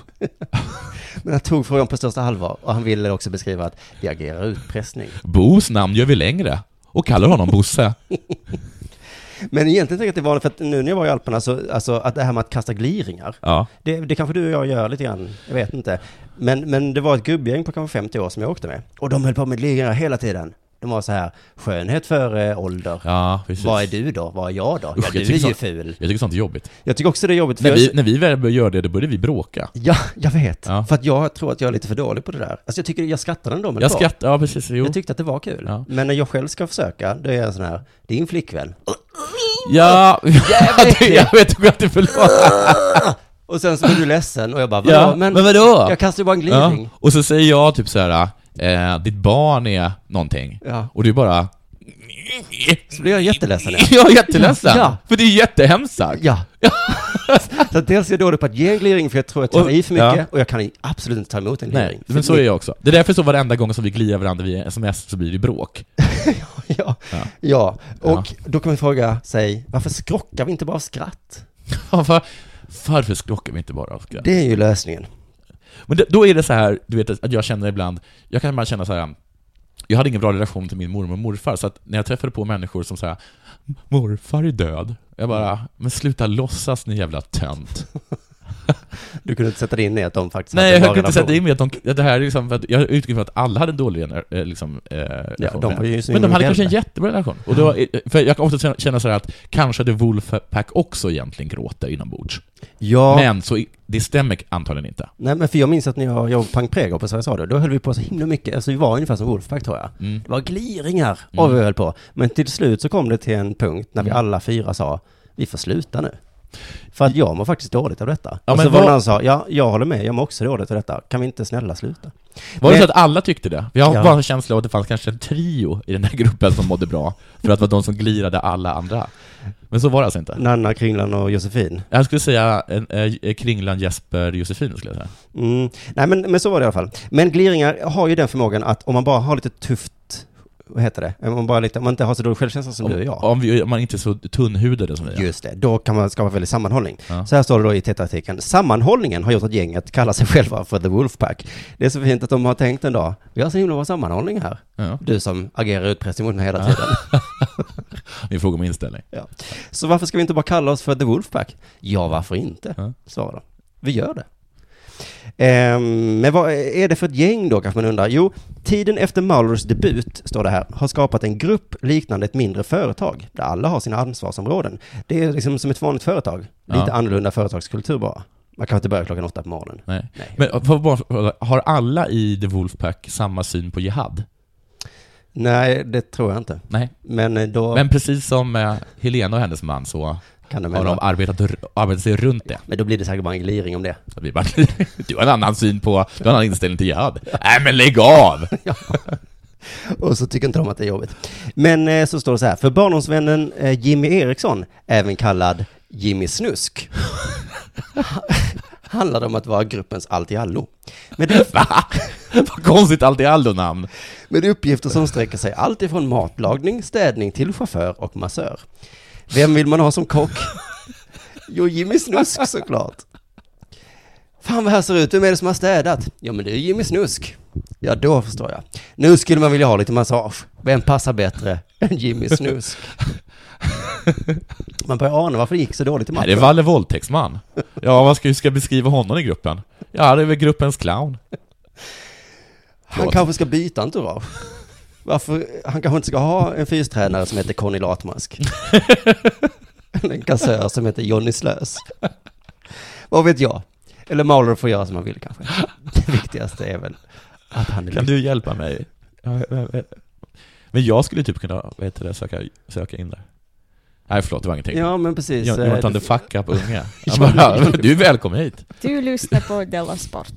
[SPEAKER 4] Men han tog frågan på största allvar och han ville också beskriva att vi agerar utpressning.
[SPEAKER 5] Bos namn gör vi längre och kallar honom Bosse.
[SPEAKER 4] Men egentligen tänker jag att det var för att nu när jag var i Alperna så, alltså att det här med att kasta gliringar,
[SPEAKER 5] Ja.
[SPEAKER 4] det, det kanske du och jag gör lite grann, jag vet inte. Men, men det var ett gubbgäng på kanske 50 år som jag åkte med. Och de höll på med gliringar hela tiden. De var så här, skönhet före ålder.
[SPEAKER 5] Ja, precis.
[SPEAKER 4] Vad är du då? Vad är jag då?
[SPEAKER 5] Usch,
[SPEAKER 4] ja,
[SPEAKER 5] jag
[SPEAKER 4] du
[SPEAKER 5] tycker
[SPEAKER 4] är ju
[SPEAKER 5] sånt-
[SPEAKER 4] ful.
[SPEAKER 5] Jag tycker sånt är jobbigt.
[SPEAKER 4] Jag tycker också det är jobbigt.
[SPEAKER 5] När
[SPEAKER 4] jag-
[SPEAKER 5] vi, när vi väl började göra det, då började vi bråka.
[SPEAKER 4] Ja, jag vet.
[SPEAKER 5] Ja.
[SPEAKER 4] För att jag tror att jag är lite för dålig på det där. Alltså jag tycker, jag skrattar ändå, men det
[SPEAKER 5] Jag
[SPEAKER 4] var-
[SPEAKER 5] skrattar, ja precis, jo.
[SPEAKER 4] Jag tyckte att det var kul.
[SPEAKER 5] Ja.
[SPEAKER 4] Men när jag själv ska försöka, då är jag sån här, din flickvän.
[SPEAKER 5] Ja,
[SPEAKER 4] Jävligt
[SPEAKER 5] jag vet inte att du förlåt.
[SPEAKER 4] Och sen så blir du ledsen och jag bara, vadå?
[SPEAKER 5] Ja,
[SPEAKER 4] men,
[SPEAKER 5] men, vadå?
[SPEAKER 4] jag kastar ju bara en
[SPEAKER 5] ja.
[SPEAKER 4] gliring.
[SPEAKER 5] Och så säger jag typ så här, eh, ditt barn är någonting.
[SPEAKER 4] Ja.
[SPEAKER 5] Och du bara...
[SPEAKER 4] Så blir jag jätteledsen. ja.
[SPEAKER 5] Jag är jätteledsen.
[SPEAKER 4] Ja.
[SPEAKER 5] För det är jättehemskt sagt.
[SPEAKER 4] Ja. så att dels är jag dålig på att ge en gliring för jag tror att jag tar
[SPEAKER 5] Och-
[SPEAKER 4] i för mycket
[SPEAKER 5] ja.
[SPEAKER 4] och jag kan absolut inte ta emot en gliring.
[SPEAKER 5] Nej, men så är jag också. Det är därför så varenda gång som vi glirar varandra via sms så blir det bråk.
[SPEAKER 4] Ja, ja.
[SPEAKER 5] Ja.
[SPEAKER 4] och då kan man fråga sig, varför skrockar vi inte bara av skratt?
[SPEAKER 5] Varför- Varför skrockar vi inte bara av skratt?
[SPEAKER 4] Det är ju lösningen.
[SPEAKER 5] Men det, då är det så här, du vet att jag känner ibland, jag kan bara känna så här. Jag hade ingen bra relation till min mormor och morfar, så att när jag träffade på människor som säger morfar är död, jag bara, men sluta låtsas ni jävla tönt.
[SPEAKER 4] Du kunde inte sätta dig in i att de faktiskt
[SPEAKER 5] Nej,
[SPEAKER 4] hade en
[SPEAKER 5] jag kunde inte
[SPEAKER 4] relation.
[SPEAKER 5] sätta in mig att de, att det här är liksom, för att jag utgick från att alla hade en dålig gener- eh, liksom, eh, relation.
[SPEAKER 4] de var ju
[SPEAKER 5] Men de hade kanske en
[SPEAKER 4] singelhjältar.
[SPEAKER 5] jättebra relation. Och då, för jag kan ofta känna så här att kanske hade Wolfpack också egentligen gråter inombords.
[SPEAKER 4] Ja,
[SPEAKER 5] Men så i- det stämmer antagligen inte.
[SPEAKER 4] nej men för jag minns att när jag jobbade på Pang Prego på Sveriges Radio, då höll vi på så himla mycket, alltså vi var ungefär som Wolfpack tror jag.
[SPEAKER 5] Mm.
[SPEAKER 4] Det var gliringar av vad vi höll på. Men till slut så kom det till en punkt när vi
[SPEAKER 5] Mm.
[SPEAKER 4] alla fyra sa, vi får sluta nu. För att jag mår faktiskt dåligt av detta.
[SPEAKER 5] Ja,
[SPEAKER 4] och
[SPEAKER 5] men
[SPEAKER 4] så var det
[SPEAKER 5] vad-
[SPEAKER 4] någon som sa, ja, jag håller med, jag mår också dåligt av detta. Kan vi inte snälla sluta?
[SPEAKER 5] Var det
[SPEAKER 4] Men-
[SPEAKER 5] så att alla tyckte det? Jag har
[SPEAKER 4] Ja.
[SPEAKER 5] bara en känsla av att det fanns kanske en trio i den här gruppen som mådde bra, för att det var de som glirade alla andra. Men så var det alltså inte.
[SPEAKER 4] Nanna, Kringlan och Josefin.
[SPEAKER 5] Jag skulle säga en, eh, Kringlan, Jesper, Josefin skulle jag säga.
[SPEAKER 4] Mm. Nej, men, men så var det i alla fall. Men gliringar har ju den förmågan att om man bara har lite tufft, vad heter det? Om man, bara lite, om man inte har så dålig självkänsla som du och jag.
[SPEAKER 5] Om, vi, om man inte är så tunnhudade som vi är.
[SPEAKER 4] Just det, då kan man skapa väldigt sammanhållning.
[SPEAKER 5] Ja.
[SPEAKER 4] Så här står det då i TT-artikeln. Sammanhållningen har gjort att gänget kallar sig själva för The Wolfpack. Det är så fint att de har tänkt en dag, vi har så himla bra sammanhållning här.
[SPEAKER 5] Ja.
[SPEAKER 4] Du som agerar utpressning mot mig hela tiden.
[SPEAKER 5] Min fråga om inställning.
[SPEAKER 4] Så varför ska vi inte bara kalla oss för The Wolfpack? Ja, varför inte?
[SPEAKER 5] Ja.
[SPEAKER 4] Svarar de. Vi gör det. Ehm, men vad är det för ett gäng då, kanske man undrar? Jo, tiden efter Maulers debut, står det här, har skapat en grupp liknande ett mindre företag, där alla har sina ansvarsområden. Det är liksom som ett vanligt företag, lite
[SPEAKER 5] Ja.
[SPEAKER 4] annorlunda företagskultur bara. Man kan inte börja klockan åtta på morgonen.
[SPEAKER 5] Nej.
[SPEAKER 4] Nej.
[SPEAKER 5] Men eh, får jag bara fråga, har alla i The Wolfpack samma syn på jihad?
[SPEAKER 4] Nej, det tror jag inte.
[SPEAKER 5] Nej.
[SPEAKER 4] Men eh, då
[SPEAKER 5] Men precis som eh, Helena och hennes man så
[SPEAKER 4] kan de
[SPEAKER 5] har de
[SPEAKER 4] ändå...
[SPEAKER 5] arbetat, arbetat sig runt det.
[SPEAKER 4] Men då blir det säkert bara en gliring om det.
[SPEAKER 5] Så vi bara, du har en annan syn på, du har en annan inställning till jihad. Nej men lägg av!
[SPEAKER 4] Och så tycker inte de att det är jobbigt. Men eh, så står det så här, för barndomsvännen eh, Jimmy Eriksson, även kallad Jimmy Snusk, handlar det om att vara gruppens allt i allo. Med, upp-
[SPEAKER 5] Va? Vad konstigt allt i allo namn.
[SPEAKER 4] med uppgifter som sträcker sig allt ifrån matlagning, städning till chaufför och massör. Vem vill man ha som kock? Jo, Jimmy Snusk såklart. Fan vad här ser ut, vem är det som har städat? Ja men det är Jimmy Snusk. Ja då förstår jag. Nu skulle man vilja ha lite massage. Vem passar bättre än Jimmy Snusk? Man börjar ana varför det gick så dåligt i
[SPEAKER 5] Nej, det är
[SPEAKER 4] matchen.
[SPEAKER 5] Valle våldtäktsman. Ja, vad ska, hur ska jag beskriva honom i gruppen? Ja, det är väl gruppens clown.
[SPEAKER 4] Han kanske ska byta entourage. Varför? Han kanske inte ska ha en fystränare som heter Conny Latmask. Eller en kassör som heter Johnny Slös. Vad vet jag? Eller Mauler får göra som han vill kanske. Det viktigaste är väl att han är
[SPEAKER 5] Kan du hjälpa mig? Ja, ja, ja. Men jag skulle typ kunna, vad heter det, söka, söka in där. Nej, förlåt, det var ingenting.
[SPEAKER 4] Ja men precis.
[SPEAKER 5] Jo-
[SPEAKER 4] Eh,
[SPEAKER 5] Jonathan the fuck up unge. Jag bara, Du är välkommen hit.
[SPEAKER 1] Du lyssnar på Della Sport.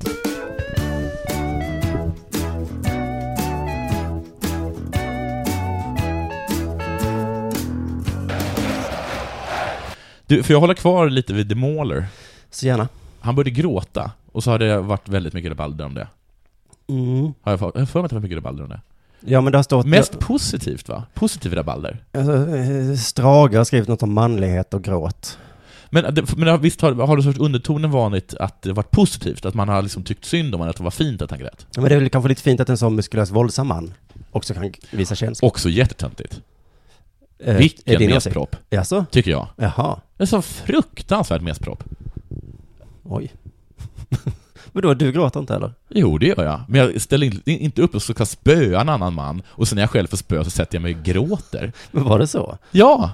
[SPEAKER 5] Du, får jag hålla kvar lite vid The Mauler?
[SPEAKER 4] Så gärna.
[SPEAKER 5] Han började gråta, och så har det varit väldigt mycket rabalder om det.
[SPEAKER 4] Mm.
[SPEAKER 5] Har jag för jag har för mig att det var mycket rabalder om det.
[SPEAKER 4] Ja, men det har stått...
[SPEAKER 5] Mest positivt va? Positiv rabalder.
[SPEAKER 4] Alltså, eh, Strage har skrivit något om manlighet och gråt.
[SPEAKER 5] Men, det- men visst har, har det sorts undertonen vanligt att det varit positivt? Att man har liksom tyckt synd om honom, att det var fint att han grät?
[SPEAKER 4] Ja, Men det är väl kanske lite fint att en sån muskulös våldsam man också kan visa känslor.
[SPEAKER 5] Också jättetöntigt.
[SPEAKER 4] Eh, är
[SPEAKER 5] Vilken
[SPEAKER 4] din åsikt?
[SPEAKER 5] mespropp,
[SPEAKER 4] Jaså?
[SPEAKER 5] tycker jag.
[SPEAKER 4] Jaha.
[SPEAKER 5] Det är så fruktansvärt mespropp.
[SPEAKER 4] Oj. Vadå, du gråter inte heller?
[SPEAKER 5] Jo, det gör jag. Men jag ställer in- inte upp och ska spöa en annan man, och sen när jag själv får spö så sätter jag mig och gråter.
[SPEAKER 4] Men var det så?
[SPEAKER 5] Ja!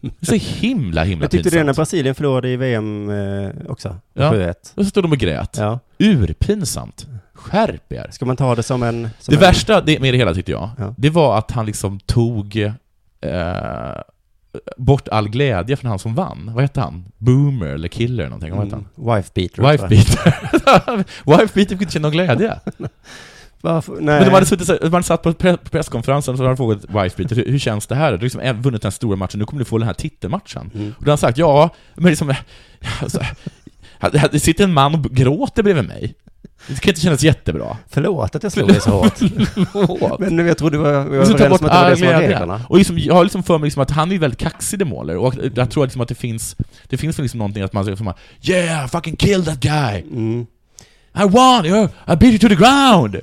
[SPEAKER 5] Det är så himla, himla
[SPEAKER 4] Jag tyckte det
[SPEAKER 5] pinsamt.
[SPEAKER 4] när Brasilien förlorade i VM eh, också.
[SPEAKER 5] Ja.
[SPEAKER 4] 7-1.
[SPEAKER 5] Och så stod de och grät.
[SPEAKER 4] Ja.
[SPEAKER 5] Urpinsamt. Skärp er.
[SPEAKER 4] Ska man ta det som en... Som
[SPEAKER 5] Det
[SPEAKER 4] en...
[SPEAKER 5] värsta det- med det hela tyckte jag,
[SPEAKER 4] Ja.
[SPEAKER 5] det var att han liksom tog eh, bort all glädje från han som vann. Vad hette han? Boomer eller Killer eller någonting, vad hette han?
[SPEAKER 4] Mm, wife beater. tror jag.
[SPEAKER 5] Wife Beater. Wife Beater fick inte känna någon glädje.
[SPEAKER 4] Varför? Nej.
[SPEAKER 5] Men de hade, suttit, så- de hade satt på pre- presskonferensen och så hade de frågat Wife Beater, hur, hur känns det här? Du har liksom en- vunnit den här stora matchen, nu kommer du få den här titelmatchen.
[SPEAKER 4] Mm.
[SPEAKER 5] Och då har han sagt, ja, men liksom... eh, Alltså, här- det sitter en man och gråter bredvid mig. Det kan inte kännas jättebra.
[SPEAKER 4] Förlåt att jag slog dig så hårt. Men jag trodde vi var, vi var överens om att det var det som var
[SPEAKER 5] glädje.
[SPEAKER 4] reglerna.
[SPEAKER 5] Och liksom, jag har liksom för mig liksom att han är väldigt kaxig The Mauler, och jag tror liksom att det finns, det finns liksom någonting att man säger som här, 'Yeah, fucking kill that guy'
[SPEAKER 4] Mm.
[SPEAKER 5] I won! you- I beat you to the ground!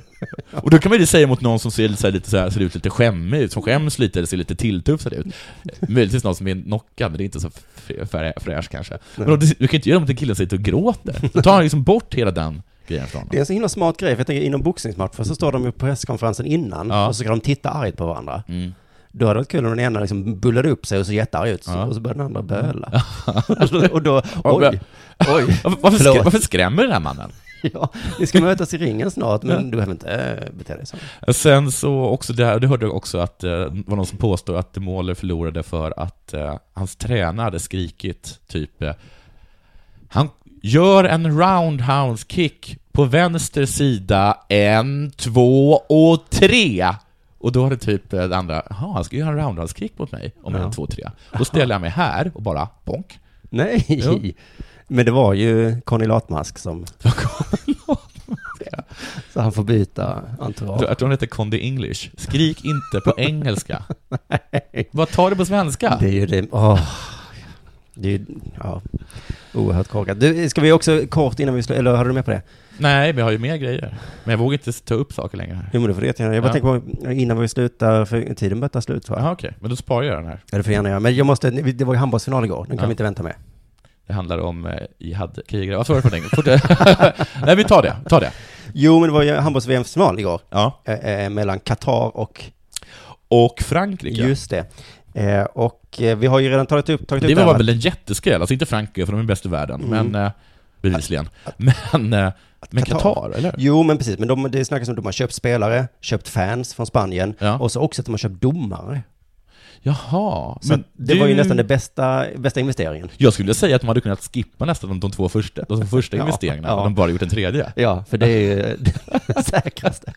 [SPEAKER 5] Och då kan man ju säga mot någon som ser, så här, lite, så här, ser ut lite skämmig ut, som skäms lite eller ser lite tilltufsad ut. Möjligtvis någon som är knockad, men det är inte så frä- frä- fräsch kanske. Men om du, du kan ju inte göra något till killen sitter och gråter. Då tar han liksom bort hela den grejen från
[SPEAKER 4] Det är
[SPEAKER 5] honom.
[SPEAKER 4] en så himla smart grej, för jag tänker inom boxningsmatcher så står de ju på presskonferensen innan
[SPEAKER 5] Ja.
[SPEAKER 4] och så kan de titta argt på varandra.
[SPEAKER 5] Mm.
[SPEAKER 4] Då hade det varit kul om den ena liksom bullade upp sig och så jättearg ut så-
[SPEAKER 5] Ja. Mm.
[SPEAKER 4] och så började den andra böla. Alltså, och då, oj,
[SPEAKER 5] men-
[SPEAKER 4] oj,
[SPEAKER 5] Varför, varför,
[SPEAKER 4] Förlåt.
[SPEAKER 5] skrä, varför skrämmer den här mannen?
[SPEAKER 4] ja, ni ska mötas i ringen snart men du behöver inte äh, bete dig så.
[SPEAKER 5] Sen så också, det, här, det hörde jag också att eh, det var någon som påstod att Demoler förlorade för att eh, hans tränare hade skrikit typ eh, Han gör en roundhouse kick på vänster sida, en, två och tre! Och då hade typ eh, det andra, jaha, han ska göra en roundhouse kick mot mig om
[SPEAKER 4] Ja.
[SPEAKER 5] en, två, tre. Då ställer jag mig här och bara, bonk.
[SPEAKER 4] Nej,
[SPEAKER 5] Jo.
[SPEAKER 4] men det var ju Conny Latmask som... så han får byta entourage.
[SPEAKER 5] Jag tror hon heter Condi English. Skrik inte på engelska. Vad tar det på svenska?
[SPEAKER 4] Det är ju det, åh. Det är ju, ja, oerhört korkat. Du, ska vi också kort innan vi slår, eller har du med på det?
[SPEAKER 5] Nej, vi har ju mer grejer. Men jag vågar inte ta upp saker längre här.
[SPEAKER 4] Jo men det får du jättegärna. Jag bara
[SPEAKER 5] Ja.
[SPEAKER 4] tänker på, eh, innan vi slutar, för tiden börjar ta slut va?
[SPEAKER 5] Jaha, okej. Men då sparar jag den här.
[SPEAKER 4] Ja, det får jag gärna göra. Men jag måste, det var ju handbollsfinal igår, den kan
[SPEAKER 5] Ja.
[SPEAKER 4] vi inte vänta med.
[SPEAKER 5] Det handlar om eh, jihadkrigare. Vad sa du för någonting? Fort- Nej, vi tar det. Ta det.
[SPEAKER 4] Jo men det var ju handbolls-VM-final igår,
[SPEAKER 5] Ja.
[SPEAKER 4] eh, eh, mellan Qatar och,
[SPEAKER 5] Och Frankrike.
[SPEAKER 4] just det. Eh, och eh, vi har ju redan tagit upp, tagit
[SPEAKER 5] det
[SPEAKER 4] upp här,
[SPEAKER 5] var
[SPEAKER 4] va?
[SPEAKER 5] väl en jätteskräll. Alltså inte Frankrike, för de är bäst i världen.
[SPEAKER 4] Mm.
[SPEAKER 5] Men, eh, bevisligen. Men, eh, men
[SPEAKER 4] Qatar.
[SPEAKER 5] Qatar, eller?
[SPEAKER 4] Jo, men precis. Men de, det snackas om att de har köpt spelare, köpt fans från Spanien
[SPEAKER 5] Ja.
[SPEAKER 4] och så också att de har köpt domare.
[SPEAKER 5] Jaha.
[SPEAKER 4] Så att det
[SPEAKER 5] du-
[SPEAKER 4] var ju nästan den bästa, bästa investeringen.
[SPEAKER 5] Jag skulle säga att de hade kunnat skippa nästan de, de två första, de två första
[SPEAKER 4] Ja,
[SPEAKER 5] investeringarna,
[SPEAKER 4] ja.
[SPEAKER 5] och de bara gjort en tredje.
[SPEAKER 4] Ja, för det är ju det säkraste.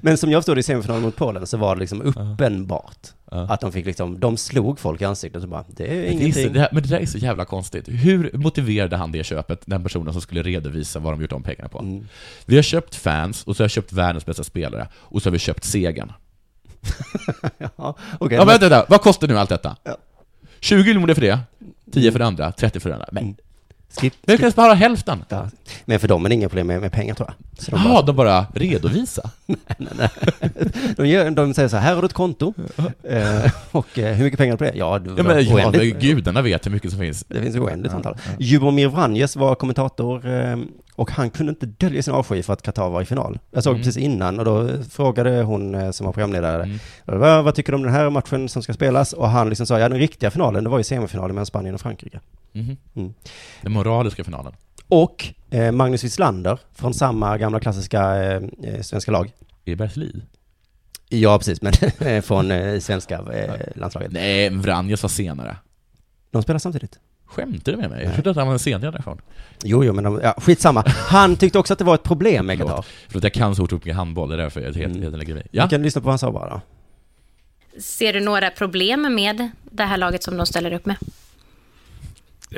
[SPEAKER 4] Men som jag förstod det i semifinalen mot Polen så var det liksom uppenbart
[SPEAKER 5] Ja.
[SPEAKER 4] att de fick liksom, de slog folk i ansiktet och bara, det är
[SPEAKER 5] Det är så,
[SPEAKER 4] ingenting.
[SPEAKER 5] det här, men det där är så jävla konstigt. Hur motiverade han det köpet, den personen som skulle redovisa vad de gjort de pengarna på?
[SPEAKER 4] Mm.
[SPEAKER 5] Vi har köpt fans, och så har vi köpt världens bästa spelare, och så har vi köpt segern.
[SPEAKER 4] Ja, okej.
[SPEAKER 5] Ja, men vänta, vänta, vad kostar nu allt detta?
[SPEAKER 4] Ja.
[SPEAKER 5] 20 miljoner för det, 10 för det andra, 30 för det andra. Men
[SPEAKER 4] Mm. Skip,
[SPEAKER 5] vi kan spara hälften!
[SPEAKER 4] ja. Men för dem är det inga problem med, med pengar tror jag. Så de,
[SPEAKER 5] Jaha, de bara redovisa.
[SPEAKER 4] bara, de, gör, de säger så här, här har du ett konto. Eh, och eh, hur mycket pengar är det på det? Ja, du,
[SPEAKER 5] Ja, men, ja,
[SPEAKER 4] oändligt.
[SPEAKER 5] men gudarna vet hur mycket som finns.
[SPEAKER 4] Det finns oändligt antal. Jubomir Vranjes var kommentator eh, och han kunde inte dölja sin avsky för att Qatar var i final. Jag såg
[SPEAKER 5] Mm.
[SPEAKER 4] precis innan och då frågade hon eh, som var programledare,
[SPEAKER 5] Mm.
[SPEAKER 4] "Vad- vad tycker du om den här matchen som ska spelas? Och han liksom sa, ja den riktiga finalen, det var ju semifinalen mellan Spanien och Frankrike.
[SPEAKER 5] Mhm.
[SPEAKER 4] Mm.
[SPEAKER 5] Den moraliska finalen.
[SPEAKER 4] Och eh, Magnus Wislander från samma gamla klassiska eh, eh, svenska lag.
[SPEAKER 5] Är det Bergslid?
[SPEAKER 4] Ja, precis, men från eh, svenska eh, landslaget.
[SPEAKER 5] Nej, men Vranjes var senare.
[SPEAKER 4] De spelar samtidigt.
[SPEAKER 5] Skämtar du med mig?
[SPEAKER 4] Nej.
[SPEAKER 5] Jag trodde att han var en sen generation.
[SPEAKER 4] Jo, jo, men de, ja, skitsamma. Han tyckte också att det var ett problem med
[SPEAKER 5] Förlåt.
[SPEAKER 4] Qatar.
[SPEAKER 5] För att jag kan så otroligt mycket handboll, det är därför jag helt,
[SPEAKER 4] Mm.
[SPEAKER 5] helt lägger mig.
[SPEAKER 4] Vi
[SPEAKER 5] Ja,
[SPEAKER 4] kan lyssna på vad han sa bara. då.
[SPEAKER 6] Ser du några problem med det här laget som de ställer upp med?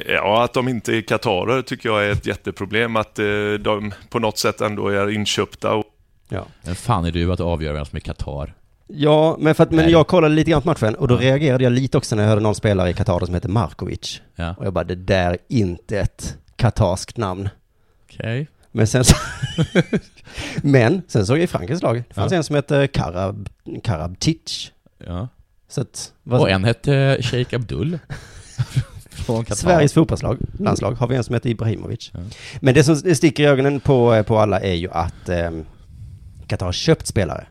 [SPEAKER 2] Ja, att de inte är katarer tycker jag är ett jätteproblem. Att eh, de på något sätt ändå är inköpta. Och,
[SPEAKER 4] Ja.
[SPEAKER 5] men fan är du att avgöra vem som är Qatar?
[SPEAKER 4] Ja, men, för att, men
[SPEAKER 5] Nej.
[SPEAKER 4] jag kollade lite grann på matchen och då reagerade jag lite också när jag hörde någon spelare i Qatar som heter Markovic.
[SPEAKER 5] Ja,
[SPEAKER 4] Och jag bara, det där är inte ett katarskt namn.
[SPEAKER 5] okej.
[SPEAKER 4] Men sen, så, men sen såg jag i Frankrikes lag, det fanns
[SPEAKER 5] Ja.
[SPEAKER 4] en som hette Karab, Karabtic.
[SPEAKER 5] Ja.
[SPEAKER 4] Så att, vad,
[SPEAKER 5] Och en hette Sheikh Abdul. Från Qatar.
[SPEAKER 4] Sveriges fotbollslag, landslag, har vi en som heter Ibrahimovic.
[SPEAKER 5] Ja.
[SPEAKER 4] Men det som sticker i ögonen på, på alla är ju att eh, Qatar har köpt spelare.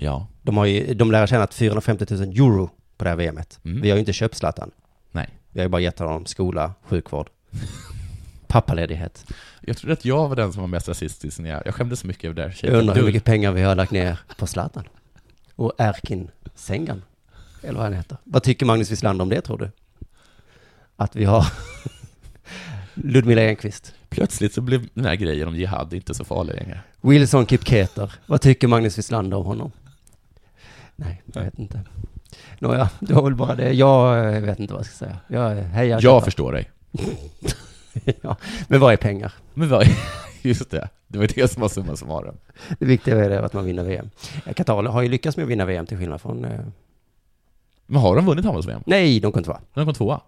[SPEAKER 5] Ja.
[SPEAKER 4] De, har ju, de lär ha tjänat 450 000 euro på det här VMet.
[SPEAKER 5] Mm.
[SPEAKER 4] Vi har ju inte köpt Zlatan.
[SPEAKER 5] Nej.
[SPEAKER 4] Vi har ju bara gett honom skola, sjukvård, pappaledighet.
[SPEAKER 5] Jag trodde att jag var den som var mest rasistisk när jag... Jag skämdes så mycket över det där. Sheikh
[SPEAKER 4] Jag undrar hur
[SPEAKER 5] Abdul.
[SPEAKER 4] mycket pengar vi har lagt ner på Zlatan. Och Erkin Sengan. Eller vad han heter. Vad tycker Magnus Wislander om det tror du? Att vi har Ludmilla Enqvist,
[SPEAKER 5] Plötsligt så blev den här grejen om jihad inte så farlig längre.
[SPEAKER 4] Wilson Kipketer. Vad tycker Magnus Wislander om honom? Nej, jag vet inte. Nåja, det var väl bara det. Jag eh, vet inte vad jag ska säga. Jag hejar
[SPEAKER 5] Jag
[SPEAKER 4] Qatar.
[SPEAKER 5] förstår dig.
[SPEAKER 4] ja. Men vad är pengar?
[SPEAKER 5] Men vad... Just det. Det var det som var summa summarum.
[SPEAKER 4] Det viktiga är det att man vinner VM. Eh, Qatar har ju lyckats med att vinna VM till skillnad från... eh,
[SPEAKER 5] Men har de vunnit handbolls-VM?
[SPEAKER 4] Nej, de kunde inte vara.
[SPEAKER 5] De kom tvåa.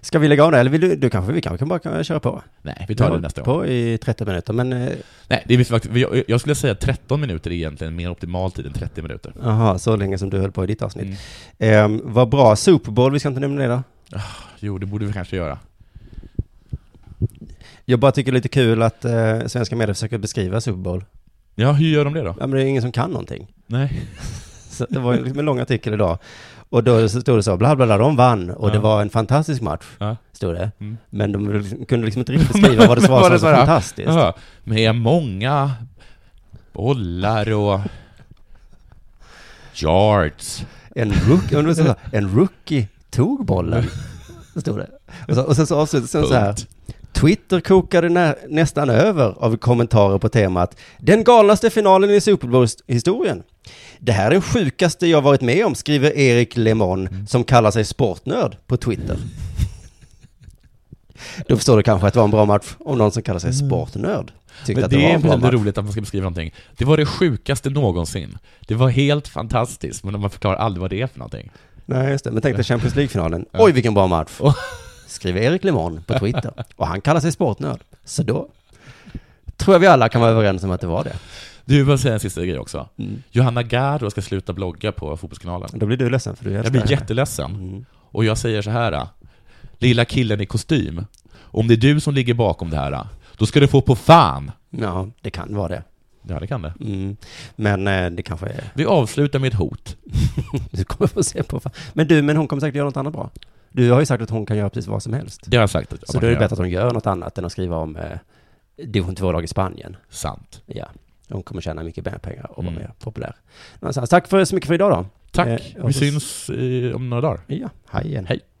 [SPEAKER 4] Ska vi lägga av det? Eller vill du, du kanske, vi kanske kan bara kan köra på?
[SPEAKER 5] Nej, vi tar
[SPEAKER 4] har
[SPEAKER 5] det nästa gång.
[SPEAKER 4] på i 30 minuter, men eh,
[SPEAKER 5] Nej, det är faktiskt, jag, jag skulle säga att 13 minuter är egentligen mer optimal tid än 30 minuter.
[SPEAKER 4] aha, så länge som du höll på i ditt avsnitt.
[SPEAKER 5] Mm.
[SPEAKER 4] Ehm, vad bra, Super Bowl, vi ska inte nämna det då.
[SPEAKER 5] Jo, det borde vi kanske göra.
[SPEAKER 4] Jag bara tycker det är lite kul att eh, svenska medier försöker beskriva Super Bowl.
[SPEAKER 5] Ja, hur gör de det då?
[SPEAKER 4] Ja, men det är ingen som kan någonting.
[SPEAKER 5] Nej.
[SPEAKER 4] Så det var ju liksom en lång artikel idag. Och då så stod det så, bla bla bla, de vann och det
[SPEAKER 5] Ja.
[SPEAKER 4] var en fantastisk match,
[SPEAKER 5] Ja.
[SPEAKER 4] stod det.
[SPEAKER 5] Mm.
[SPEAKER 4] Men de liksom- kunde liksom inte riktigt beskriva vad det var som var så
[SPEAKER 5] här,
[SPEAKER 4] fantastiskt.
[SPEAKER 5] Ja, med många bollar och yards.
[SPEAKER 4] En rookie, undrar så här, en rookie tog bollen, stod det. Och, så, och sen så avslutades den så här.
[SPEAKER 5] Punkt.
[SPEAKER 4] Twitter kokade nä, nästan över av kommentarer på temat Den galnaste finalen i Super Bowl-historien. Det här är den sjukaste jag varit med om, skriver Erik Lemon,
[SPEAKER 5] Mm.
[SPEAKER 4] som kallar sig sportnörd på Twitter. Då förstår du kanske att det var en bra match om någon som kallar sig sportnörd tyckte
[SPEAKER 5] Mm. Men
[SPEAKER 4] att
[SPEAKER 5] det
[SPEAKER 4] det var
[SPEAKER 5] är
[SPEAKER 4] en bra
[SPEAKER 5] väldigt
[SPEAKER 4] match.
[SPEAKER 5] roligt att man ska beskriva någonting. Det var det sjukaste någonsin. Det var helt fantastiskt, men man förklarar aldrig vad det är för någonting.
[SPEAKER 4] Nej, just det. Men tänk dig Champions League-finalen. Oj, vilken bra match.
[SPEAKER 5] Och-
[SPEAKER 4] Skriver Erik Lemon på Twitter. Och han kallar sig sportnörd. Så då tror jag vi alla kan vara överens om att det var det.
[SPEAKER 5] Du, vill säga en sista grej också.
[SPEAKER 4] Mm.
[SPEAKER 5] Johanna Garro ska sluta blogga på Fotbollskanalen.
[SPEAKER 4] Då blir du ledsen för du
[SPEAKER 5] Jag blir jätteledsen.
[SPEAKER 4] Mm.
[SPEAKER 5] Och jag säger så här. Lilla killen i kostym. Om det är du som ligger bakom det här, då ska du få på fan.
[SPEAKER 4] Ja, det kan vara det.
[SPEAKER 5] Ja, det kan det.
[SPEAKER 4] Mm. Men eh, det kanske är...
[SPEAKER 5] Vi avslutar med ett hot.
[SPEAKER 4] Du kommer få se på... Men du, men hon kommer säkert göra något annat bra. Du har ju sagt att hon kan göra precis vad som helst.
[SPEAKER 5] Det har jag sagt att
[SPEAKER 4] Så då är det bättre att hon gör något annat än att skriva om eh, division 2-lag i Spanien.
[SPEAKER 5] Sant.
[SPEAKER 4] Ja. Hon kommer tjäna mycket mer pengar och vara
[SPEAKER 5] Mm.
[SPEAKER 4] mer populär. Någonstans. Tack för, så mycket för idag då.
[SPEAKER 5] Tack.
[SPEAKER 4] Eh, och
[SPEAKER 5] Vi
[SPEAKER 4] så-
[SPEAKER 5] syns eh, om några dagar.
[SPEAKER 4] Ja, hej igen.
[SPEAKER 5] Hej.